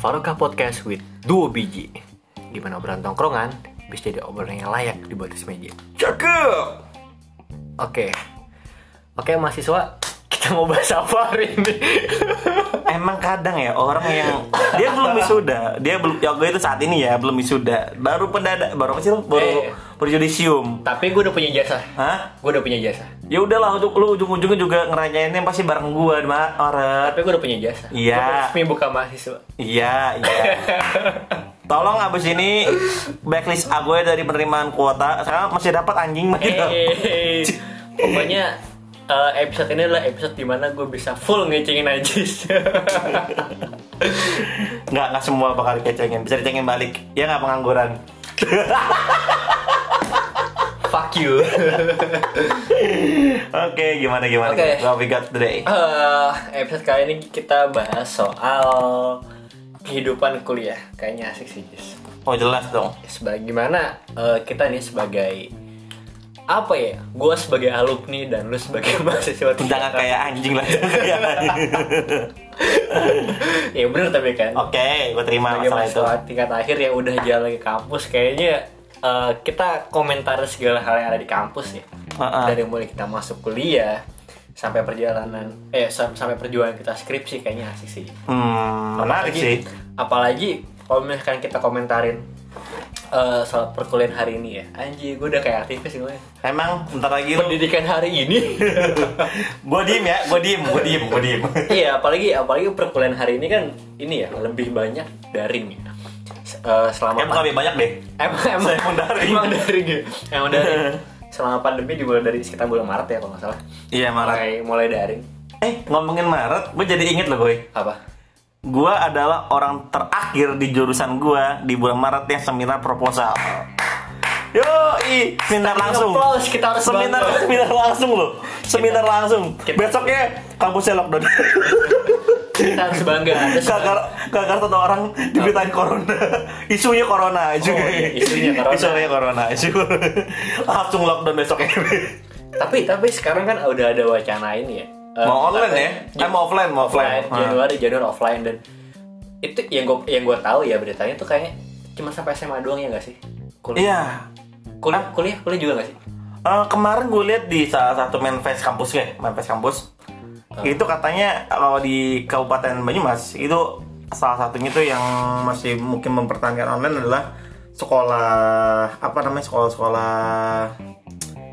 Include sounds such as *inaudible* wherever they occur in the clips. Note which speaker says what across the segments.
Speaker 1: Faroka Podcast with Duo Biji Di mana obrolan tongkrongan bisa jadi obrolan yang layak di batas meja
Speaker 2: Cakep.
Speaker 1: Oke Oke mahasiswa, kita mau bahas apa hari ini?
Speaker 2: Emang kadang ya orang yang dia belum wisuda, dia belum ya gue itu saat ini ya belum wisuda, baru pendada, baru apa sih lu?
Speaker 1: Eh.
Speaker 2: Baru perjudisium.
Speaker 1: *laughs* Tapi gue udah punya jasa
Speaker 2: Hah?
Speaker 1: Gue udah punya jasa
Speaker 2: Ya udahlah untuk lu ujung-ujungnya juga ngerayainnya pasti bareng gua, Ma. Orang.
Speaker 1: Tapi gue udah punya jasa
Speaker 2: Iya.
Speaker 1: Gua resmi buka *laughs* mahasiswa
Speaker 2: Iya, iya. Tolong abis ini backlist A gue dari penerimaan kuota. Sekarang masih dapat anjing gitu. masih
Speaker 1: Eh.
Speaker 2: dapat.
Speaker 1: Hey, pokoknya eh, episode ini adalah episode dimana gue bisa full ngecengin najis. *laughs*
Speaker 2: Nggak, nggak semua bakal dikecengin. Bisa dicengin balik. Ya nggak pengangguran.
Speaker 1: Fuck you.
Speaker 2: Oke, gimana gimana?
Speaker 1: Oke.
Speaker 2: What we got today?
Speaker 1: Eh, episode kali ini kita bahas soal kehidupan kuliah. Kayaknya asik sih, Jis.
Speaker 2: Oh jelas dong.
Speaker 1: Sebagaimana eh, kita nih sebagai apa ya? Gue sebagai alumni dan lu sebagai *laughs* mahasiswa.
Speaker 2: Jangan kayak anjing lah. *laughs* Iya, jangan kayak anjing.
Speaker 1: *laughs* ya bener tapi kan.
Speaker 2: Oke, gue terima
Speaker 1: sebagai
Speaker 2: Oh, masalah itu.
Speaker 1: mahasiswa tingkat akhir yang udah jalan ke kampus kayaknya eh, kita komentar segala hal yang ada di kampus ya
Speaker 2: Heeh.
Speaker 1: dari mulai kita masuk kuliah sampai perjalanan eh sam- sampai perjuangan kita skripsi kayaknya asik sih
Speaker 2: Hmm, menarik
Speaker 1: Apalagi-
Speaker 2: sih.
Speaker 1: apalagi kalau misalkan kita komentarin eh, soal perkuliahan hari ini ya anjir gue udah kayak aktivis gue
Speaker 2: Emang bentar lagi *laughs* lu.
Speaker 1: pendidikan hari ini *laughs*
Speaker 2: Gue diem ya, gue diem, gue diem, gue *laughs* diem.
Speaker 1: Iya, apalagi apalagi perkuliahan hari ini kan ini ya lebih banyak daring ya. S- eh, selama
Speaker 2: Kayak bukan lebih banyak deh.
Speaker 1: emang emang
Speaker 2: *laughs* Emang daring.
Speaker 1: emang daring ya
Speaker 2: *laughs*
Speaker 1: emang daring selama pandemi dimulai dari sekitar bulan Maret ya kalau nggak salah
Speaker 2: Iya Maret.
Speaker 1: mulai mulai daring
Speaker 2: Eh ngomongin Maret, gue jadi inget loh gue.
Speaker 1: apa
Speaker 2: Gua adalah orang terakhir di jurusan gua di bulan Maret yang seminar proposal. Yo, seminar langsung.
Speaker 1: applause, kita harus
Speaker 2: seminar
Speaker 1: bangga.
Speaker 2: seminar langsung loh. Seminar langsung. Besoknya kampusnya lockdown. *laughs*
Speaker 1: kita harus bangga ada se-
Speaker 2: Kakak kakak satu orang diberitain corona. *laughs* Isunya corona juga.
Speaker 1: iya, isunya corona.
Speaker 2: Isunya corona. Isu. *laughs* langsung lockdown besoknya.
Speaker 1: tapi tapi sekarang kan udah ada wacana ini ya Eh,
Speaker 2: mau online ya? Eh, mau offline, mau offline.
Speaker 1: offline
Speaker 2: Ah.
Speaker 1: Kan, Januari Januari offline dan itu yang gue yang gue tahu ya beritanya tuh kayaknya cuma sampai SMA doang ya nggak sih kuliah
Speaker 2: Iya,
Speaker 1: kuliah kuliah kuliah juga nggak sih
Speaker 2: Eh, kemarin gue lihat di salah satu manifest kampusnya, manifest kampus.
Speaker 1: Eh.
Speaker 2: Itu katanya kalau di Kabupaten Banyumas itu salah satunya tuh yang masih mungkin mempertahankan online adalah sekolah apa namanya sekolah-sekolah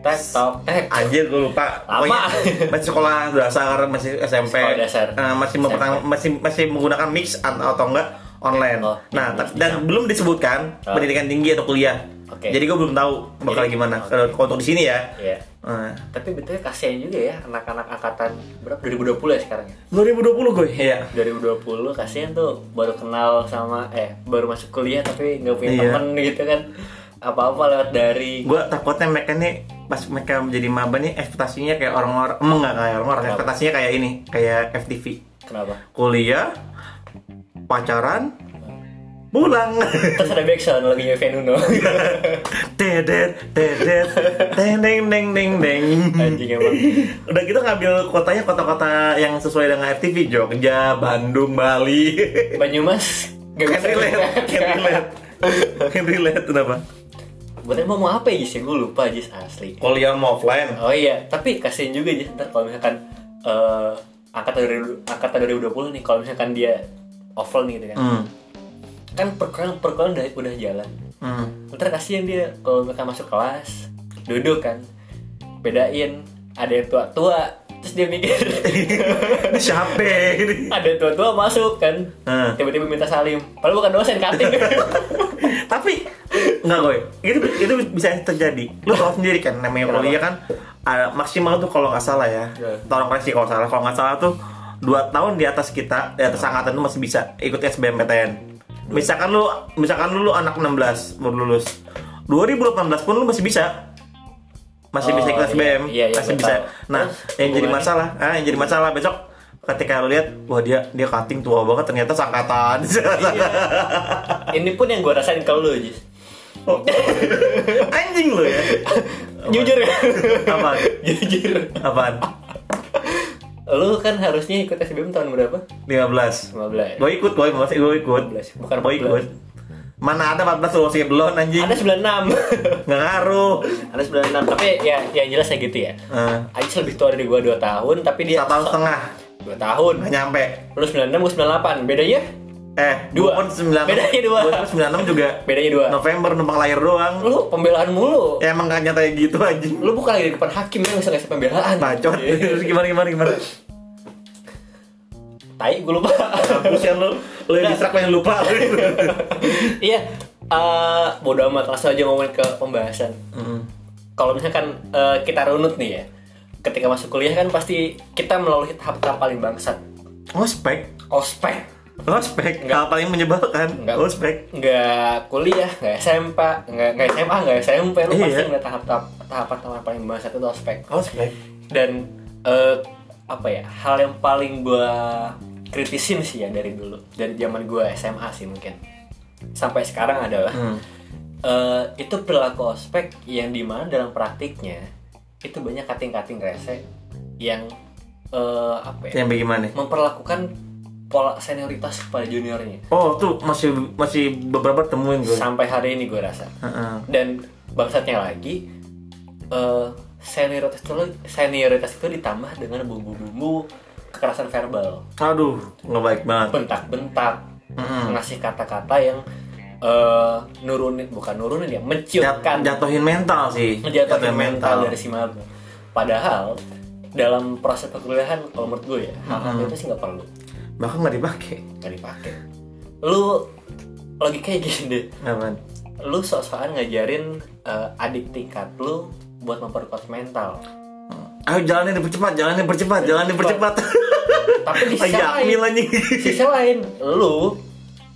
Speaker 1: laptop eh
Speaker 2: anjir gue lupa
Speaker 1: Lama.
Speaker 2: Pokoknya masih sekolah dasar masih SMP
Speaker 1: Sekolah dasar.
Speaker 2: Eh, masih mempertahan- masih masih menggunakan mix an- atau enggak online
Speaker 1: Oh,
Speaker 2: nah ta- dan belum disebutkan
Speaker 1: Oh.
Speaker 2: pendidikan tinggi atau kuliah
Speaker 1: Oke.
Speaker 2: jadi gue belum tahu bakal
Speaker 1: Jadi-
Speaker 2: gimana
Speaker 1: oke.
Speaker 2: kalau untuk di sini ya
Speaker 1: Iya.
Speaker 2: Eh,
Speaker 1: tapi betulnya kasihan juga ya anak-anak angkatan berapa 2020 ya sekarang ya
Speaker 2: 2020 gue Iya
Speaker 1: 2020 kasihan tuh baru kenal sama eh baru masuk kuliah tapi nggak punya
Speaker 2: Iya.
Speaker 1: temen gitu kan apa-apa lewat dari
Speaker 2: Gue takutnya mereka nih Pas mereka menjadi maba nih Ekspektasinya kayak orang-orang Emang nggak kayak orang-orang
Speaker 1: Kenapa?
Speaker 2: Ekspektasinya kayak ini Kayak FTV
Speaker 1: kenapa
Speaker 2: Kuliah Pacaran Pulang *laughs*
Speaker 1: terus ada backsound lagunya Venuno
Speaker 2: Dedet Dedet Deng deng deng deng deng
Speaker 1: *laughs* anjing emang
Speaker 2: Udah gitu ngambil kotanya kota-kota yang sesuai dengan FTV Jogja, Bandung, Bali
Speaker 1: Banyumas gak
Speaker 2: Can
Speaker 1: bisa
Speaker 2: relate Can relate Can relate kenapa?
Speaker 1: Buat emang mau apa ya Jis? Gue lupa Jis asli
Speaker 2: Kuliah mau offline
Speaker 1: Oh iya, tapi kasihan juga Jis Ntar kalau misalkan eh, angkatan, dari, angkatan 2020 nih Kalau misalkan dia offline gitu kan
Speaker 2: Hmm
Speaker 1: Kan perkuliahan, perkuliahan udah, udah jalan
Speaker 2: Hmm
Speaker 1: Ntar kasihan dia kalau mereka masuk kelas duduk kan bedain ada yang tua-tua terus dia mikir *laughs*
Speaker 2: Ini siapa ini?
Speaker 1: ada yang tua-tua masuk kan
Speaker 2: Hmm.
Speaker 1: tiba-tiba minta salim padahal bukan dosen kating
Speaker 2: tapi nggak gue itu itu bisa terjadi lu tau sendiri kan namanya
Speaker 1: Kenapa?
Speaker 2: kuliah kan uh, maksimal tuh kalau nggak salah ya
Speaker 1: Ya.
Speaker 2: tolong koreksi kalau salah kalau nggak salah tuh dua tahun di atas kita di atas angkatan tuh masih bisa ikut SBMPTN misalkan lu misalkan lu, lu anak 16 baru lulus 2018 pun lu masih bisa masih
Speaker 1: Oh,
Speaker 2: bisa ikut
Speaker 1: iya.
Speaker 2: SBM
Speaker 1: Iya, iya,
Speaker 2: masih
Speaker 1: gue
Speaker 2: bisa
Speaker 1: tahu.
Speaker 2: nah
Speaker 1: Terus
Speaker 2: yang jadi
Speaker 1: hubungannya?
Speaker 2: masalah ah, yang jadi masalah besok ketika lu lihat wah dia dia cutting tua banget ternyata sangkatan
Speaker 1: Iya, ini pun yang gue rasain kalau lu Jis
Speaker 2: Oh. *laughs* anjing lu ya
Speaker 1: jujur ya
Speaker 2: Apaan?
Speaker 1: *laughs* jujur
Speaker 2: Apaan?
Speaker 1: Lu kan harusnya ikut SBM tahun berapa?
Speaker 2: 15
Speaker 1: 15.
Speaker 2: Gue ikut, gue masih gue ikut
Speaker 1: 15, bukan
Speaker 2: Gue
Speaker 1: 14.
Speaker 2: ikut Mana ada 14 lu masih belum anjing
Speaker 1: Ada 96.
Speaker 2: Nggak ngaruh
Speaker 1: *laughs* Ada 96, tapi ya yang jelas ya gitu ya.
Speaker 2: Eh,
Speaker 1: Ajis lebih tua dari gua 2 tahun, tapi dia
Speaker 2: Satu tahun setengah
Speaker 1: 2 tahun.
Speaker 2: Nggak nyampe
Speaker 1: Lu 96, gua 98. Bedanya?
Speaker 2: Eh,
Speaker 1: Dua.
Speaker 2: gua pun 96
Speaker 1: Bedanya dua.
Speaker 2: Gue 96 juga
Speaker 1: Bedanya
Speaker 2: November numpang lahir
Speaker 1: 2.
Speaker 2: doang
Speaker 1: Lu pembelaan mulu.
Speaker 2: Ya emang gak nyata gitu anjing
Speaker 1: Lu bukan lagi di depan hakim ya, nggak usah ngasih pembelaan.
Speaker 2: Bacot
Speaker 1: Iya.
Speaker 2: Terus gimana gimana gimana
Speaker 1: Tai, gua *laughs* lupa. ya
Speaker 2: Hapusin lu Lu yang distract lu yang *laughs* lupa
Speaker 1: Iya, eh bodo amat langsung aja ngomongin ke pembahasan.
Speaker 2: Mm.
Speaker 1: Kalau misalkan eh, kita runut nih ya, ketika masuk kuliah kan pasti kita melalui tahap-tahap paling bangsat.
Speaker 2: Oh, Ospek
Speaker 1: Ospek,
Speaker 2: Ospek
Speaker 1: Nggak.
Speaker 2: Oh, Hal paling menyebalkan Oh,
Speaker 1: Nggak.
Speaker 2: Ospek
Speaker 1: nggak kuliah, nggak SMP, nggak nggak SMA, nggak SMP, lu
Speaker 2: Iya.
Speaker 1: pasti ngeliat tahap-tahap tahapan-tahapan paling bangsat itu ospek.
Speaker 2: Ospek
Speaker 1: Dan eh, apa ya, hal yang paling gua kritisin sih ya dari dulu, dari zaman gua SMA sih mungkin sampai sekarang adalah
Speaker 2: Hmm.
Speaker 1: Eh, itu perilaku ospek yang dimana dalam praktiknya itu banyak kating-kating rese yang eh, apa ya,
Speaker 2: Yang bagaimana
Speaker 1: memperlakukan pola senioritas kepada juniornya
Speaker 2: Oh tuh masih masih beberapa temuin gue.
Speaker 1: sampai hari ini gue rasa
Speaker 2: Heeh.
Speaker 1: dan bangsatnya lagi eh, senioritas itu senioritas itu ditambah dengan bumbu-bumbu kekerasan verbal
Speaker 2: Aduh, nggak baik banget.
Speaker 1: bentak-bentak
Speaker 2: Mm-mm.
Speaker 1: ngasih kata-kata yang eh, nurunin bukan nurunin ya
Speaker 2: Jat-
Speaker 1: menciutkan
Speaker 2: jatuhin mental sih.
Speaker 1: ngejatuhin mental Iya. dari si maba. Padahal dalam proses perkuliahan kalau menurut gue ya
Speaker 2: Hmm.
Speaker 1: hal-hal itu sih nggak perlu
Speaker 2: Bahkan nggak dipakai.
Speaker 1: nggak dipakai. Lu logikanya gini deh,
Speaker 2: Apaan?
Speaker 1: lu sok-sokan ngajarin eh, adik tingkat lu buat memperkuat mental.
Speaker 2: Ayo jalannya dipercepat, jalannya dipercepat, jalannya dipercepat.
Speaker 1: Tapi di sisi
Speaker 2: Lagi hamil
Speaker 1: lain,
Speaker 2: anjing.
Speaker 1: di sisi lain lu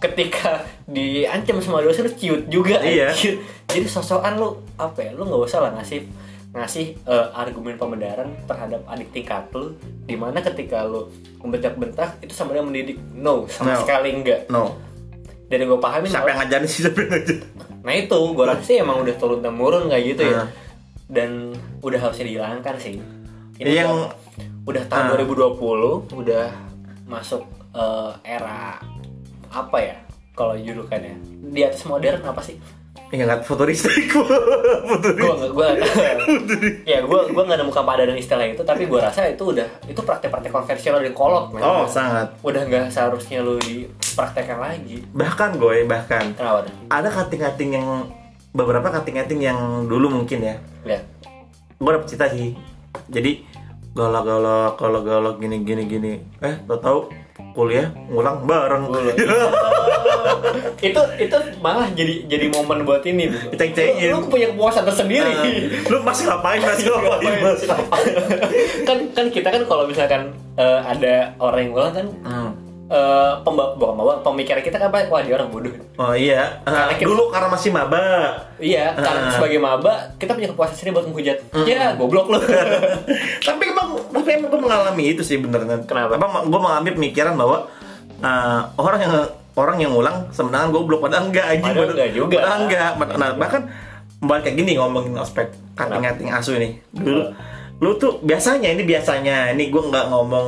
Speaker 1: ketika diancam sama dosen lu ciut juga
Speaker 2: Iya.
Speaker 1: anjir. jadi sosokan lu apa ya lu nggak usah lah ngasih ngasih eh, argumen pembenaran terhadap adik tingkat lu dimana ketika lu membentak-bentak itu sama dengan mendidik no sama
Speaker 2: No.
Speaker 1: sekali enggak
Speaker 2: No.
Speaker 1: dari gue pahamin
Speaker 2: Siapa yang ngajarin sih siapa yang ngajarin?
Speaker 1: nah itu gue rasa sih emang udah turun temurun kayak gitu ya
Speaker 2: Nah.
Speaker 1: dan udah harusnya dihilangkan sih
Speaker 2: Iya, Yang-
Speaker 1: udah- udah tahun
Speaker 2: Nah.
Speaker 1: 2020 udah masuk eh, era apa ya kalau julukannya di atas modern apa sih
Speaker 2: Ya nggak *laughs* futuristik.
Speaker 1: gue
Speaker 2: Futuristik.
Speaker 1: gue
Speaker 2: *laughs*
Speaker 1: ya gue gue nggak nemukan padanan istilah itu tapi gue rasa itu udah itu praktek-praktek konvensional dan kolot men.
Speaker 2: Oh sangat.
Speaker 1: udah nggak seharusnya lu dipraktekkan lagi
Speaker 2: Bahkan gue bahkan
Speaker 1: kenapa tuh
Speaker 2: ada kating-kating yang beberapa kating-kating yang dulu mungkin ya
Speaker 1: lihat
Speaker 2: gue dapet cerita sih jadi galak galak galak galak gini gini gini eh tau tau kuliah ngulang bareng
Speaker 1: Boleh.
Speaker 2: *laughs*
Speaker 1: itu itu malah jadi jadi momen buat ini Bu.
Speaker 2: Diceng-cengin.
Speaker 1: Lu, lu punya kepuasan tersendiri
Speaker 2: Ah.
Speaker 1: *laughs*
Speaker 2: lu masih ngapain masih ngapain masih ngapain
Speaker 1: kan kan kita kan kalau misalkan eh, ada orang yang ngulang kan
Speaker 2: Hmm.
Speaker 1: eh pemba- bukan pembawa pemikiran kita kan apa wah dia orang bodoh
Speaker 2: oh iya Eh,
Speaker 1: Karena kita-
Speaker 2: dulu karena masih maba
Speaker 1: iya karena
Speaker 2: Ah. Hmm.
Speaker 1: sebagai maba kita punya kepuasan sendiri buat menghujat ya goblok lu *laughs*
Speaker 2: tapi emang tapi emang gue mengalami itu sih beneran
Speaker 1: Kenapa?
Speaker 2: gue mengalami pemikiran bahwa eh, orang yang orang yang ngulang sebenarnya goblok padahal enggak aja
Speaker 1: Padahal enggak juga. Iya,
Speaker 2: padahal enggak Pad- nah, bahkan balik kayak gini ngomongin aspek kating-kating asu ini dulu lu tuh biasanya ini biasanya ini gue nggak ngomong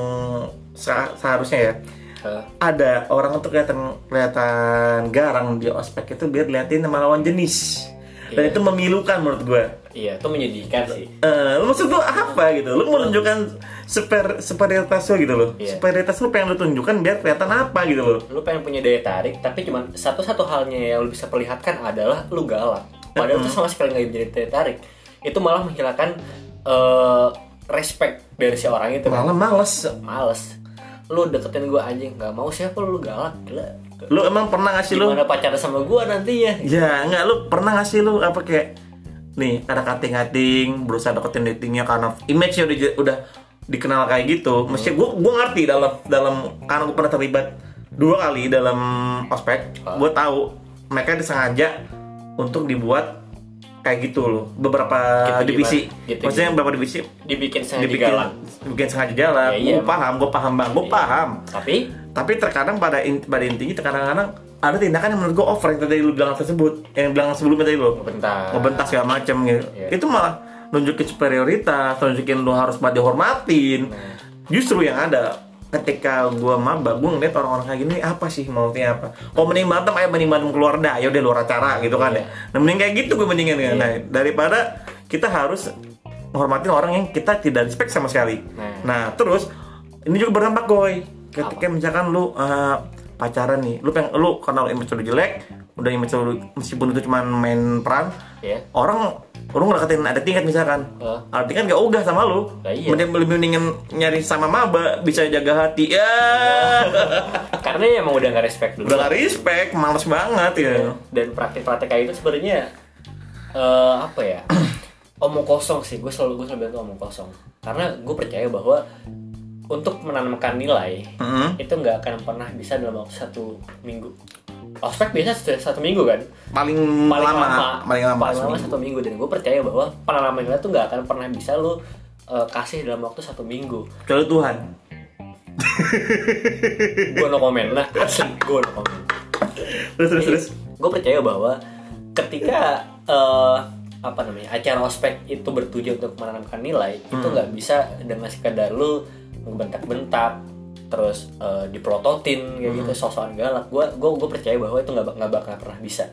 Speaker 2: se- seharusnya ya
Speaker 1: Eh,
Speaker 2: ada orang tuh kelihatan kelihatan garang di ospek itu biar diliatin sama lawan jenis dan
Speaker 1: Iya.
Speaker 2: itu memilukan menurut gue
Speaker 1: iya itu menyedihkan sih
Speaker 2: Eh, lu maksud lu apa gitu? Lu mau nunjukkan super superioritas lu gitu loh.
Speaker 1: Iya.
Speaker 2: Superioritas lu pengen lu tunjukkan biar kelihatan apa gitu loh.
Speaker 1: lu pengen punya daya tarik tapi cuman satu-satu halnya yang lu bisa perlihatkan adalah lu galak padahal itu sama sekali nggak menjadi daya tarik itu malah menghilangkan eh, respect dari si orang itu
Speaker 2: Malah males.
Speaker 1: males lu deketin gua anjing nggak mau siapa lu galak gila
Speaker 2: Lu emang pernah ngasih lu?
Speaker 1: gimana pacaran sama gua nanti ya
Speaker 2: Ya, enggak lu pernah ngasih lu apa kayak nih ada kating-kating berusaha deketin datingnya karena image nya udah udah dikenal kayak gitu. Mesti gua gua ngerti dalam dalam karena gua pernah terlibat dua kali dalam ospek.
Speaker 1: Ah.
Speaker 2: Gua tahu mereka disengaja untuk dibuat kayak gitu loh beberapa
Speaker 1: Gitu
Speaker 2: divisi
Speaker 1: gimana? Gitu
Speaker 2: maksudnya beberapa divisi
Speaker 1: dibikin sengaja
Speaker 2: dibikin
Speaker 1: galak
Speaker 2: bikin sengaja jalan
Speaker 1: Ya, iya.
Speaker 2: gue paham gue paham bang gue
Speaker 1: Iya.
Speaker 2: paham
Speaker 1: tapi
Speaker 2: tapi terkadang pada in- pada intinya terkadang-kadang ada tindakan yang menurut gue over yang tadi lu bilang tersebut yang bilang sebelumnya tadi lu
Speaker 1: bentar
Speaker 2: ngebentak segala macem gitu
Speaker 1: Iya.
Speaker 2: itu malah nunjukin superioritas nunjukin lu harus banget dihormatin justru yang ada ketika gua maba gua ngeliat orang-orang kayak gini apa sih maunya apa oh mending berantem ayo mending berantem keluar dah ayo deh luar acara gitu kan ya nah mending kayak gitu gue mendingan kan Nah, daripada kita harus menghormatin orang yang kita tidak respect sama sekali nah, terus ini juga berdampak goy ketika misalkan lu eh, pacaran nih lu pengen lu karena lu image lu jelek udah image lu meskipun itu cuma main peran
Speaker 1: ya
Speaker 2: orang orang ngedeketin ada tingkat misalkan
Speaker 1: Heeh.
Speaker 2: ada tingkat gak ogah sama lu
Speaker 1: Lah iya.
Speaker 2: mending lebih mendingan nyari sama maba bisa jaga hati
Speaker 1: *laughs*
Speaker 2: ya
Speaker 1: karena ya emang udah nggak respect dulu
Speaker 2: udah gak respect males banget ya
Speaker 1: dan praktik-praktik kayak itu sebenarnya eh, apa ya *clears throat* omong kosong sih gue selalu gue selalu bilang tuh omong kosong karena gue percaya bahwa untuk menanamkan nilai
Speaker 2: Mm-mm.
Speaker 1: itu nggak akan pernah bisa dalam waktu satu minggu ospek biasa satu, satu minggu kan
Speaker 2: paling,
Speaker 1: paling
Speaker 2: Hmm, lama,
Speaker 1: lama,
Speaker 2: paling lama
Speaker 1: paling lama
Speaker 2: seminggu.
Speaker 1: satu minggu dan gue percaya bahwa penanaman nilai tuh nggak akan pernah bisa lo eh, kasih dalam waktu satu
Speaker 2: *laughs*
Speaker 1: minggu
Speaker 2: kecuali Tuhan
Speaker 1: gue no comment nah *laughs* asli gue no comment
Speaker 2: terus terus terus
Speaker 1: gue percaya bahwa ketika eh, apa namanya acara ospek itu bertujuan untuk menanamkan nilai itu nggak bisa dengan sekedar lu ngebentak-bentak terus eh, dipelototin kayak gitu sosokan galak gue gue percaya bahwa itu nggak bak- nggak bakal pernah bisa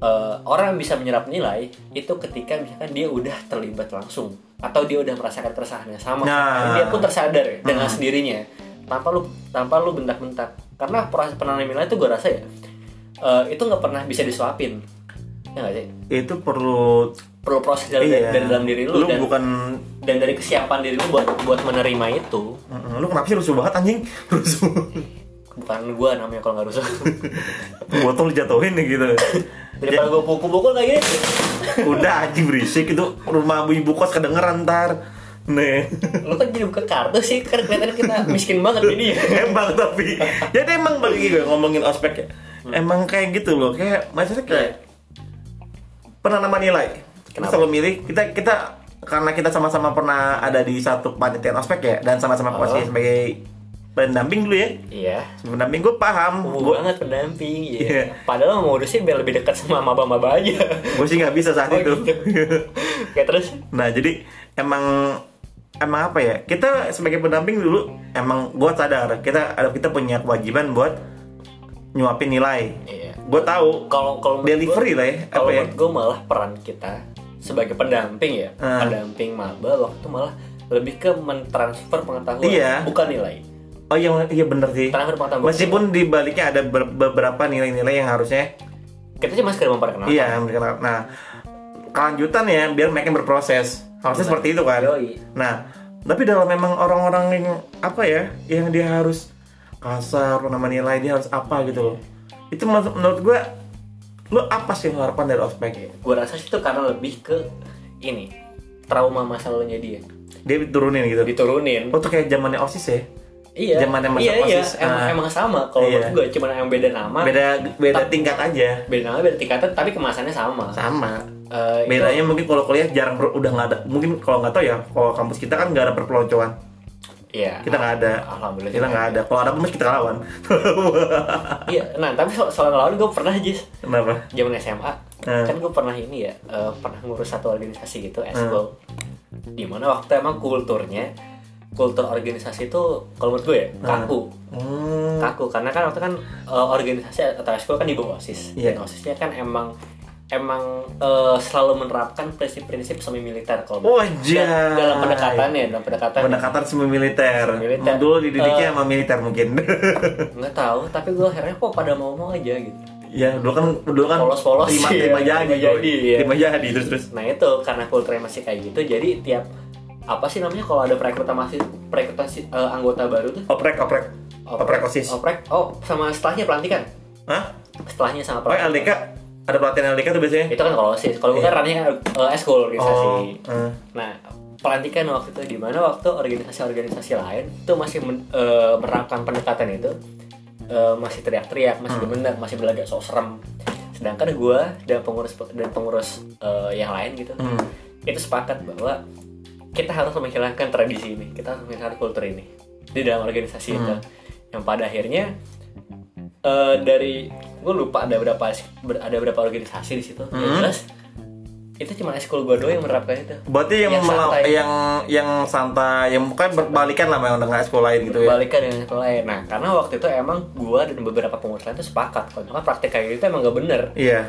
Speaker 1: Eh, orang bisa menyerap nilai itu ketika misalkan dia udah terlibat langsung atau dia udah merasakan keresahannya sama
Speaker 2: Nah.
Speaker 1: dia pun tersadar dengan sendirinya tanpa lu tanpa lu bentak-bentak karena proses penanaman nilai itu gue rasa ya eh, itu nggak pernah bisa disuapin ya nggak sih
Speaker 2: itu perlu
Speaker 1: perlu proses dari,
Speaker 2: iya.
Speaker 1: dari dalam diri lu, dan
Speaker 2: bukan
Speaker 1: dan dari kesiapan diri lu buat buat menerima itu
Speaker 2: Mm-mm. lu kenapa sih rusuh banget anjing *laughs* rusuh
Speaker 1: bukan gue namanya kalau nggak rusuh
Speaker 2: botol jatuhin
Speaker 1: *laughs*
Speaker 2: gitu
Speaker 1: daripada gue pukul-pukul kayak gini
Speaker 2: udah anjing berisik itu rumah ibu kos kedengeran ntar nih
Speaker 1: lu kan jadi buka kartu sih kan kelihatannya kita miskin banget ini ya
Speaker 2: *laughs* emang tapi jadi emang bagi gue ngomongin ospek ya
Speaker 1: Hmm.
Speaker 2: emang kayak gitu loh kayak maksudnya kayak penanaman nilai kita
Speaker 1: Kenapa?
Speaker 2: selalu milih kita kita karena kita sama-sama pernah ada di satu panitian ospek ya dan sama-sama
Speaker 1: Oh.
Speaker 2: posisi sebagai pendamping dulu ya
Speaker 1: iya
Speaker 2: pendamping gue paham
Speaker 1: Mau
Speaker 2: gue
Speaker 1: banget pendamping ya.
Speaker 2: Iya.
Speaker 1: Padahal mau modusnya biar lebih dekat sama maba-maba aja.
Speaker 2: gue sih nggak bisa saat
Speaker 1: Oh,
Speaker 2: itu *laughs*
Speaker 1: gitu. Kayak terus
Speaker 2: Nah jadi emang emang apa ya kita sebagai pendamping dulu emang gue sadar kita ada kita punya kewajiban buat nyuapin nilai.
Speaker 1: Iya.
Speaker 2: Gue tahu
Speaker 1: kalau kalau menurut
Speaker 2: delivery
Speaker 1: gua-
Speaker 2: lah ya
Speaker 1: Kalau
Speaker 2: apa ya.
Speaker 1: menurut gue malah peran kita sebagai pendamping ya,
Speaker 2: Ah.
Speaker 1: pendamping maba waktu itu malah lebih ke mentransfer pengetahuan
Speaker 2: Iya.
Speaker 1: bukan nilai.
Speaker 2: Oh iya iya bener sih.
Speaker 1: Transfer pengetahuan.
Speaker 2: Meskipun di baliknya ada ber- beberapa nilai-nilai yang harusnya
Speaker 1: kita cuma sekedar memperkenalkan.
Speaker 2: iya mereka- nah kelanjutan ya biar mereka berproses harusnya seperti itu kan.
Speaker 1: Yoi.
Speaker 2: Nah, tapi dalam memang orang-orang yang apa ya, yang dia harus kasar, nama nilai dia harus apa gitu loh. Itu mas- menurut gua lu apa sih yang harapan dari ospek?
Speaker 1: Gue rasa sih itu karena lebih ke ini trauma masa lalunya dia
Speaker 2: Dia turunin gitu.
Speaker 1: diturunin.
Speaker 2: Oh tuh kayak zamannya osis ya?
Speaker 1: Iya.
Speaker 2: Zamannya masa
Speaker 1: iya, iya.
Speaker 2: OSIS,
Speaker 1: Emang,
Speaker 2: ah.
Speaker 1: emang sama kalau
Speaker 2: Iya.
Speaker 1: menurut gue cuma yang beda nama.
Speaker 2: Beda beda
Speaker 1: Tapi-
Speaker 2: tingkat aja.
Speaker 1: beda nama beda tingkatan tapi kemasannya sama
Speaker 2: Sama.
Speaker 1: Eh, itu-
Speaker 2: Bedanya mungkin kalau kuliah jarang ber- udah nggak ada. Mungkin kalau nggak tahu ya, kalau kampus kita kan nggak ada perpeloncoan.
Speaker 1: iya
Speaker 2: Kita nggak ada.
Speaker 1: alhamdulillah
Speaker 2: Kita nggak ada. Kalau ada pun kita lawan. *laughs*
Speaker 1: iya nah tapi soal soal ngelawan gue pernah jis
Speaker 2: Kenapa?
Speaker 1: zaman SMA
Speaker 2: Hmm.
Speaker 1: kan gue pernah ini ya eh, pernah ngurus satu organisasi gitu eskul
Speaker 2: Hmm.
Speaker 1: di mana waktu emang kulturnya kultur organisasi itu kalau menurut gue ya kaku
Speaker 2: Hmm.
Speaker 1: kaku karena kan waktu kan eh, organisasi atau eskul kan di bawah osis
Speaker 2: Iya.
Speaker 1: Dan osisnya kan emang emang eh, selalu menerapkan prinsip-prinsip semi militer kalau
Speaker 2: Wajah.
Speaker 1: Da- dalam pendekatannya dalam pendekatannya
Speaker 2: Oh, pendekatan semi militer.
Speaker 1: Semi militer.
Speaker 2: Dulu
Speaker 1: Eh.
Speaker 2: dididiknya sama militer mungkin. *laughs*
Speaker 1: nggak tahu tapi gue akhirnya kok pada mau mau aja gitu
Speaker 2: ya, dulu kan dulu kan
Speaker 1: Polos-polos,
Speaker 2: terima
Speaker 1: iya,
Speaker 2: terima
Speaker 1: terima
Speaker 2: jadi,
Speaker 1: jadi,
Speaker 2: coy.
Speaker 1: iya.
Speaker 2: terima jadi terus terus.
Speaker 1: nah itu karena kulturnya masih kayak gitu jadi tiap apa sih namanya kalau ada perekrutan masih perekrutan si- eh, anggota baru tuh
Speaker 2: Oprek oprek oprek osis.
Speaker 1: oprek oh sama setelahnya pelantikan
Speaker 2: Hah?
Speaker 1: setelahnya sama
Speaker 2: Oh
Speaker 1: pelantikan
Speaker 2: LDK ada pelatihan LDK tuh biasanya.
Speaker 1: itu kan kalau osis kalau gue kan running eh, eskul organisasi
Speaker 2: Iya. Oh, eh.
Speaker 1: nah pelantikan waktu itu di mana waktu organisasi-organisasi lain itu masih men- eh, menerapkan pendekatan itu eh, masih teriak-teriak
Speaker 2: Hmm.
Speaker 1: masih benar masih belaga sok serem sedangkan gue dan pengurus dan pengurus eh, yang lain gitu
Speaker 2: Hmm.
Speaker 1: itu sepakat bahwa kita harus menghilangkan tradisi ini, kita harus menghilangkan kultur ini di dalam
Speaker 2: Hmm.
Speaker 1: organisasi itu. Yang pada akhirnya
Speaker 2: Hmm.
Speaker 1: eh, dari gue lupa ada berapa ada berapa organisasi di situ. Yang jelas itu cuma eskul gua doang yang menerapkan itu
Speaker 2: Berarti yang
Speaker 1: Yang
Speaker 2: yang
Speaker 1: santai.
Speaker 2: yang, yang santai, yang bukan berbalikan lah memang dengan sekolah lain gitu ya.
Speaker 1: balikan dengan eskul lain nah karena waktu itu emang gua dan beberapa pengurus lain tuh sepakat kalau misalkan praktek kayak gitu emang gak bener
Speaker 2: Iya.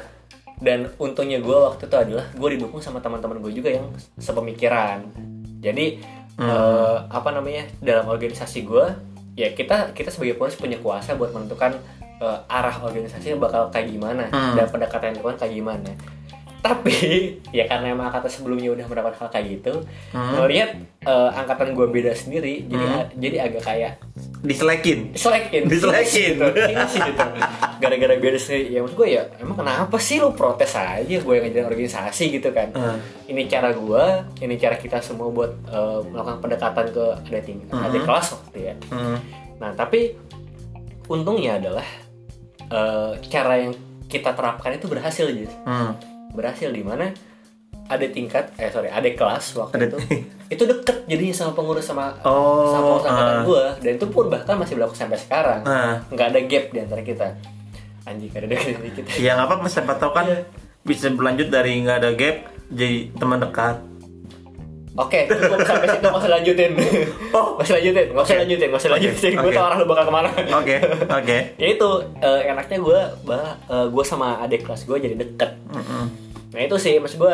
Speaker 1: dan untungnya gua waktu itu adalah gua didukung sama teman-teman gue juga yang sepemikiran jadi eh, apa namanya dalam organisasi gua ya kita kita sebagai pengurus punya kuasa buat menentukan eh, arah organisasi bakal kayak gimana
Speaker 2: Hmm.
Speaker 1: dan pendekatan lingkungan kayak gimana tapi *laughs* ya karena emang angkatan sebelumnya udah mendapatkan hal kayak gitu melihat angkatan gua beda sendiri jadi jadi agak kayak
Speaker 2: Diselekin.
Speaker 1: diselekin
Speaker 2: Diselekin.
Speaker 1: Ini sih gitu gara-gara biar sih ya maksud gue ya emang kenapa sih lu protes aja gue yang ngajarin organisasi gitu kan
Speaker 2: Hmm.
Speaker 1: ini cara gue ini cara kita semua buat eh, melakukan pendekatan ke ada tingkat ada kelas waktu ya
Speaker 2: Hmm.
Speaker 1: nah tapi untungnya adalah eh, cara yang kita terapkan itu berhasil gitu
Speaker 2: Hmm.
Speaker 1: berhasil di mana ada tingkat eh sorry ada kelas waktu
Speaker 2: Ada
Speaker 1: itu
Speaker 2: ting-
Speaker 1: itu deket jadinya sama pengurus sama
Speaker 2: *laughs* Oh,
Speaker 1: sama pengurus angkatan
Speaker 2: ah.
Speaker 1: gue dan itu pun bahkan masih berlaku sampai sekarang
Speaker 2: Ah.
Speaker 1: nggak ada gap di antara kita anjing nggak ada gap di kita
Speaker 2: Ya nggak apa-apa siapa tahu kan
Speaker 1: Iya.
Speaker 2: bisa berlanjut dari nggak ada gap jadi teman dekat.
Speaker 1: oke cukup sampai situ nggak usah lanjutin
Speaker 2: *laughs* Oh.
Speaker 1: nggak usih lanjutin nggak usah lanjutin nggak usah
Speaker 2: Oke,
Speaker 1: lanjutin gue
Speaker 2: oke.
Speaker 1: tau arah lu bakal kemana
Speaker 2: *laughs*
Speaker 1: *laughs*
Speaker 2: Oke, oke.
Speaker 1: ya itu eh, enaknya gue gue sama adik kelas gue jadi deket
Speaker 2: Mm-mm.
Speaker 1: Nah itu sih mas gue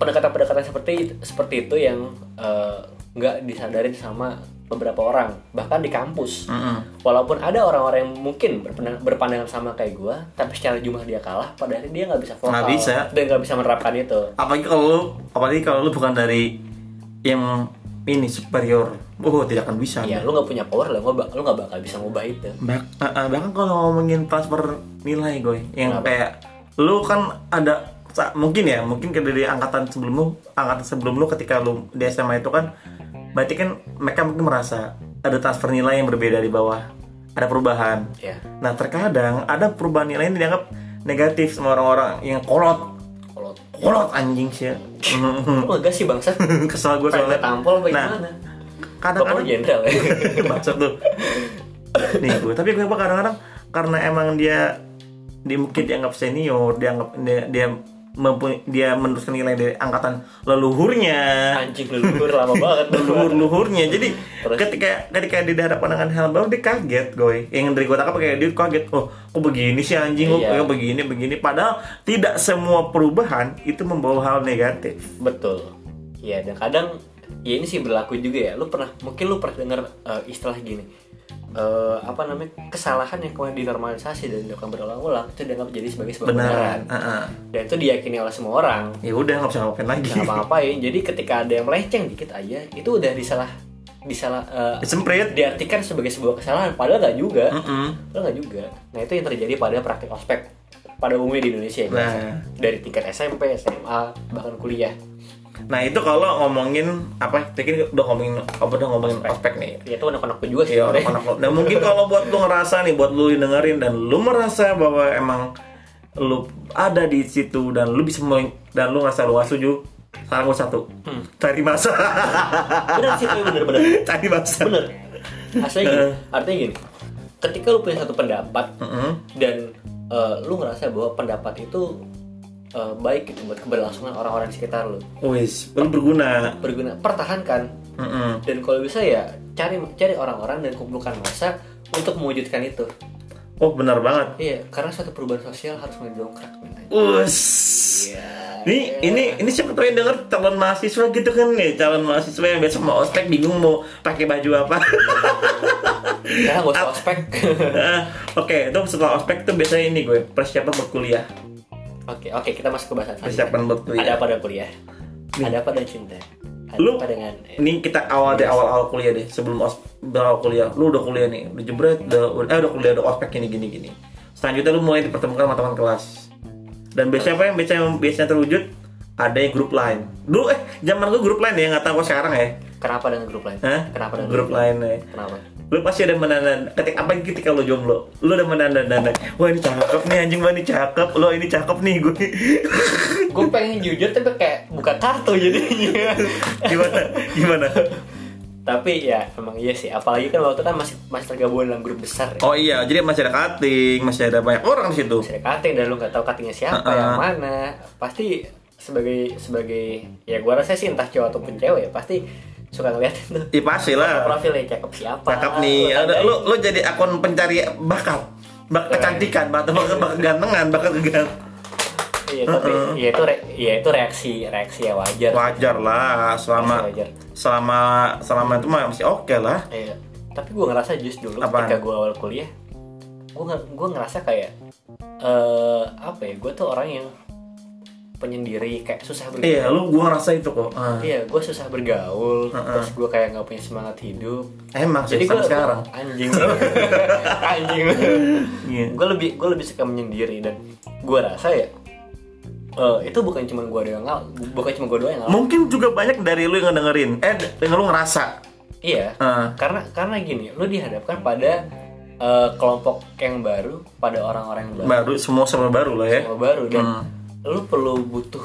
Speaker 1: pendekatan-pendekatan seperti seperti itu yang eh, nggak disadarin sama beberapa orang bahkan di kampus.
Speaker 2: Mm-mm.
Speaker 1: Walaupun ada orang-orang yang mungkin berpandang- berpandangan sama kayak gue, tapi secara jumlah dia kalah. Padahal dia nggak bisa vokal
Speaker 2: Nggak bisa.
Speaker 1: dan nggak bisa menerapkan itu.
Speaker 2: Apalagi kalau lu, apalagi kalau lu bukan dari yang ini superior. Oh, tidak akan bisa.
Speaker 1: Ya lu nggak punya power lah, lu nggak- lu nggak bakal bisa ngubah itu.
Speaker 2: Bah- eh, eh, bahkan kalau ngomongin transfer nilai gue yang kayak lu kan ada sa- mungkin ya mungkin ke- dari angkatan sebelum lu angkatan sebelum lu ketika lu di SMA itu kan berarti kan mereka mungkin merasa ada transfer nilai yang berbeda di bawah ada perubahan
Speaker 1: Ya,
Speaker 2: nah terkadang ada perubahan nilai yang dianggap negatif sama orang-orang yang kolot
Speaker 1: kalau
Speaker 2: kolot anjing sih ya.
Speaker 1: lu
Speaker 2: *laughs*
Speaker 1: nggak sih bangsa,
Speaker 2: kesel gue
Speaker 1: pengen
Speaker 2: soalnya
Speaker 1: tampol apa
Speaker 2: Nah,
Speaker 1: gimana? Bapak lu
Speaker 2: kadang-kadang
Speaker 1: jenderal *laughs* ya.
Speaker 2: *laughs* Bangsat tuh. Nih gue, tapi gue kadang-kadang karena emang dia dia mungkin dianggap senior, dianggap dia dia, mempuny- dia meneruskan nilai dari angkatan leluhurnya,
Speaker 1: Anjing leluhur lama banget.
Speaker 2: leluhur-leluhurnya. Jadi
Speaker 1: Terus?
Speaker 2: ketika ketika dia dihadapkan dengan hal baru dia kaget gue. Yang dari gue tangkap kayak dia kaget, oh kok begini sih anjing, kok
Speaker 1: Iya.
Speaker 2: kayak begini begini. Padahal tidak semua perubahan itu membawa hal negatif.
Speaker 1: Betul. Iya, dan kadang ya ini sih berlaku juga ya. Lu pernah mungkin lu pernah dengar eh, istilah gini. Eh, apa namanya kesalahan yang kemudian dinormalisasi dan dilakukan berulang-ulang itu dianggap jadi sebagai sebuah kebenaran
Speaker 2: Beneran. Heeh.
Speaker 1: dan itu diyakini oleh semua orang
Speaker 2: Ya udah nggak bisa ngapain lagi.
Speaker 1: nggak apa-apain jadi ketika ada yang melenceng dikit aja itu udah disalah disalah eh,
Speaker 2: *laughs* Semprit.
Speaker 1: diartikan sebagai sebulah kesalahan padahal nggak juga
Speaker 2: Mm-mm.
Speaker 1: padahal nggak juga nah itu yang terjadi pada praktik ospek pada umumnya di Indonesia ya,
Speaker 2: Nah.
Speaker 1: dari tingkat SMP SMA bahkan kuliah
Speaker 2: Nah itu kalau ngomongin apa? Mungkin udah ngomongin apa udah ngomongin ospek nih.
Speaker 1: ya itu anak-anakku juga sih
Speaker 2: Iya
Speaker 1: sebenarnya.
Speaker 2: anak-anak lo. Dan mungkin kalau buat lu ngerasa nih, buat lu yang dengerin dan lu merasa bahwa emang lu ada di situ dan lu bisa meng- dan lu ngerasa lu gak setuju, saran gue satu, cari masa, *laughs*
Speaker 1: bener sih tapi bener bener
Speaker 2: cari masa.
Speaker 1: bener aslinya gini artinya gini ketika lu punya satu pendapat
Speaker 2: Mm-mm.
Speaker 1: dan eh, lu ngerasa bahwa pendapat itu eh, baik gitu buat keberlangsungan orang-orang di sekitar lu
Speaker 2: Wis, lu berguna.
Speaker 1: berguna pertahankan
Speaker 2: Mm-mm.
Speaker 1: dan kalau bisa ya cari cari orang-orang dan kumpulkan massa untuk mewujudkan itu
Speaker 2: Oh benar banget.
Speaker 1: iya karena suatu perubahan sosial harus mulai didongkrak men.
Speaker 2: Us.
Speaker 1: Iya.
Speaker 2: Ini ini ini siapa tuh yang denger calon mahasiswa gitu kan nih calon mahasiswa yang biasa mau ospek bingung mau pakai baju apa. *laughs*
Speaker 1: karena gak usah ospek
Speaker 2: Eh, Oke, itu setelah ospek tuh biasanya ini gue persiapan buat kuliah,
Speaker 1: *laughs* oke oke kita masuk ke bahasan selanjutnya
Speaker 2: persiapan buat
Speaker 1: ada
Speaker 2: kuliah.
Speaker 1: apa dengan kuliah ada apa dengan cinta ada
Speaker 2: Iya. Lu-
Speaker 1: apa dengan eh,
Speaker 2: Ini kita awal dari awal-awal kuliah deh, sebelum os- awal kuliah. Lu udah kuliah nih, udah jebret, udah, eh, udah kuliah, udah ospek gini gini gini. Selanjutnya lu mulai dipertemukan sama teman kelas. Dan biasanya apa yang biasanya, biasanya terwujud? Ada yang grup lain. Dulu eh zaman lu grup lain ya, nggak tahu kok sekarang ya.
Speaker 1: Kenapa dengan grup lain?
Speaker 2: Hah?
Speaker 1: Kenapa dengan
Speaker 2: Grup lain ya.
Speaker 1: Kenapa?
Speaker 2: lu pasti ada menandan ketika apa ketika lu jomblo lu ada menandan wah ini cakep nih anjing wah ini cakep lo ini cakep nih gue
Speaker 1: Gue pengen jujur tapi kayak buka kartu jadinya. *laughs*
Speaker 2: gimana gimana
Speaker 1: tapi ya emang iya sih. Apalagi kan waktu itu kan masih masih tergabung dalam grup besar. Ya.
Speaker 2: oh iya jadi masih ada cutting masih ada banyak orang di situ
Speaker 1: Masih ada cutting dan lu nggak tahu cuttingnya siapa
Speaker 2: Uh-uh.
Speaker 1: yang mana. Pasti sebagai sebagai ya gua rasa sih entah cowok ataupun cewek ya pasti suka ngeliatin tuh
Speaker 2: Ih pasti lah.
Speaker 1: profilnya cakep siapa
Speaker 2: Uh-uh. Cakep
Speaker 1: lu
Speaker 2: nih. Ada
Speaker 1: tandain.
Speaker 2: lu lu jadi akun pencari bakat, bakat kecantikan, bakat bakat bakat gantengan, bakat kegan.
Speaker 1: iya tapi ya itu re- ya itu reaksi reaksi ya wajar
Speaker 2: Wajar lah selama
Speaker 1: Wajar.
Speaker 2: selama selama itu mah masih oke lah.
Speaker 1: Iya. Tapi gue ngerasa just dulu
Speaker 2: Apaan?
Speaker 1: ketika gue awal kuliah, gue gue ngerasa kayak eh apa ya? Gue tuh orang yang penyendiri, kayak susah bergaul.
Speaker 2: Iya, lu gua ngerasa itu kok. Ah.
Speaker 1: Iya, gue susah bergaul.
Speaker 2: Heeh.
Speaker 1: Terus gue kayak nggak punya semangat hidup.
Speaker 2: Emang sih
Speaker 1: Jadi gue
Speaker 2: sampai sekarang.
Speaker 1: anjing, *laughs* anjing.
Speaker 2: Iya.
Speaker 1: gue lebih gue lebih suka menyendiri dan gue rasa ya eh, itu bukan cuma gue doang ngal- bukan cuma gue doang yang ngal-
Speaker 2: Mungkin juga banyak dari lu yang ngedengerin. Eh, yang lu ngerasa.
Speaker 1: Iya.
Speaker 2: Ah.
Speaker 1: Karena karena gini, lu dihadapkan pada eh, kelompok yang baru, pada orang-orang yang baru,
Speaker 2: Baru semua serba baru lah ya.
Speaker 1: yang baru dan lu perlu butuh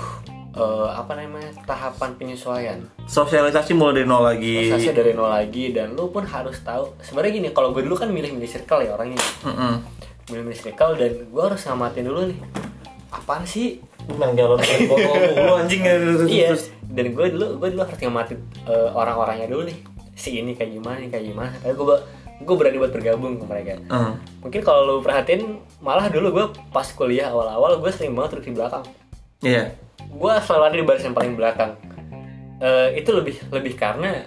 Speaker 1: eh, apa namanya tahapan penyesuaian.
Speaker 2: Sosialisasi mulai dari nol lagi.
Speaker 1: Prosesnya dari nol lagi dan lu pun harus tahu. Sebenarnya gini, kalau gue dulu kan milih-milih circle ya orangnya,
Speaker 2: Heeh.
Speaker 1: milih-milih circle dan gue harus ngamatin dulu nih. Apaan sih?
Speaker 2: Main
Speaker 1: *laughs*
Speaker 2: galon lu anjing ya.
Speaker 1: iya. Dan gue dulu gue dulu harus ngamatin eh, orang-orangnya dulu nih. Si ini kayak gimana, kayak gimana. Tapi gue gue berani buat bergabung ke mereka.
Speaker 2: Heeh.
Speaker 1: mungkin kalau lu perhatiin malah dulu gue pas kuliah awal-awal gue sering banget duduk di belakang
Speaker 2: Iya.
Speaker 1: gue selalu ada di baris yang paling belakang Eh, itu lebih lebih karena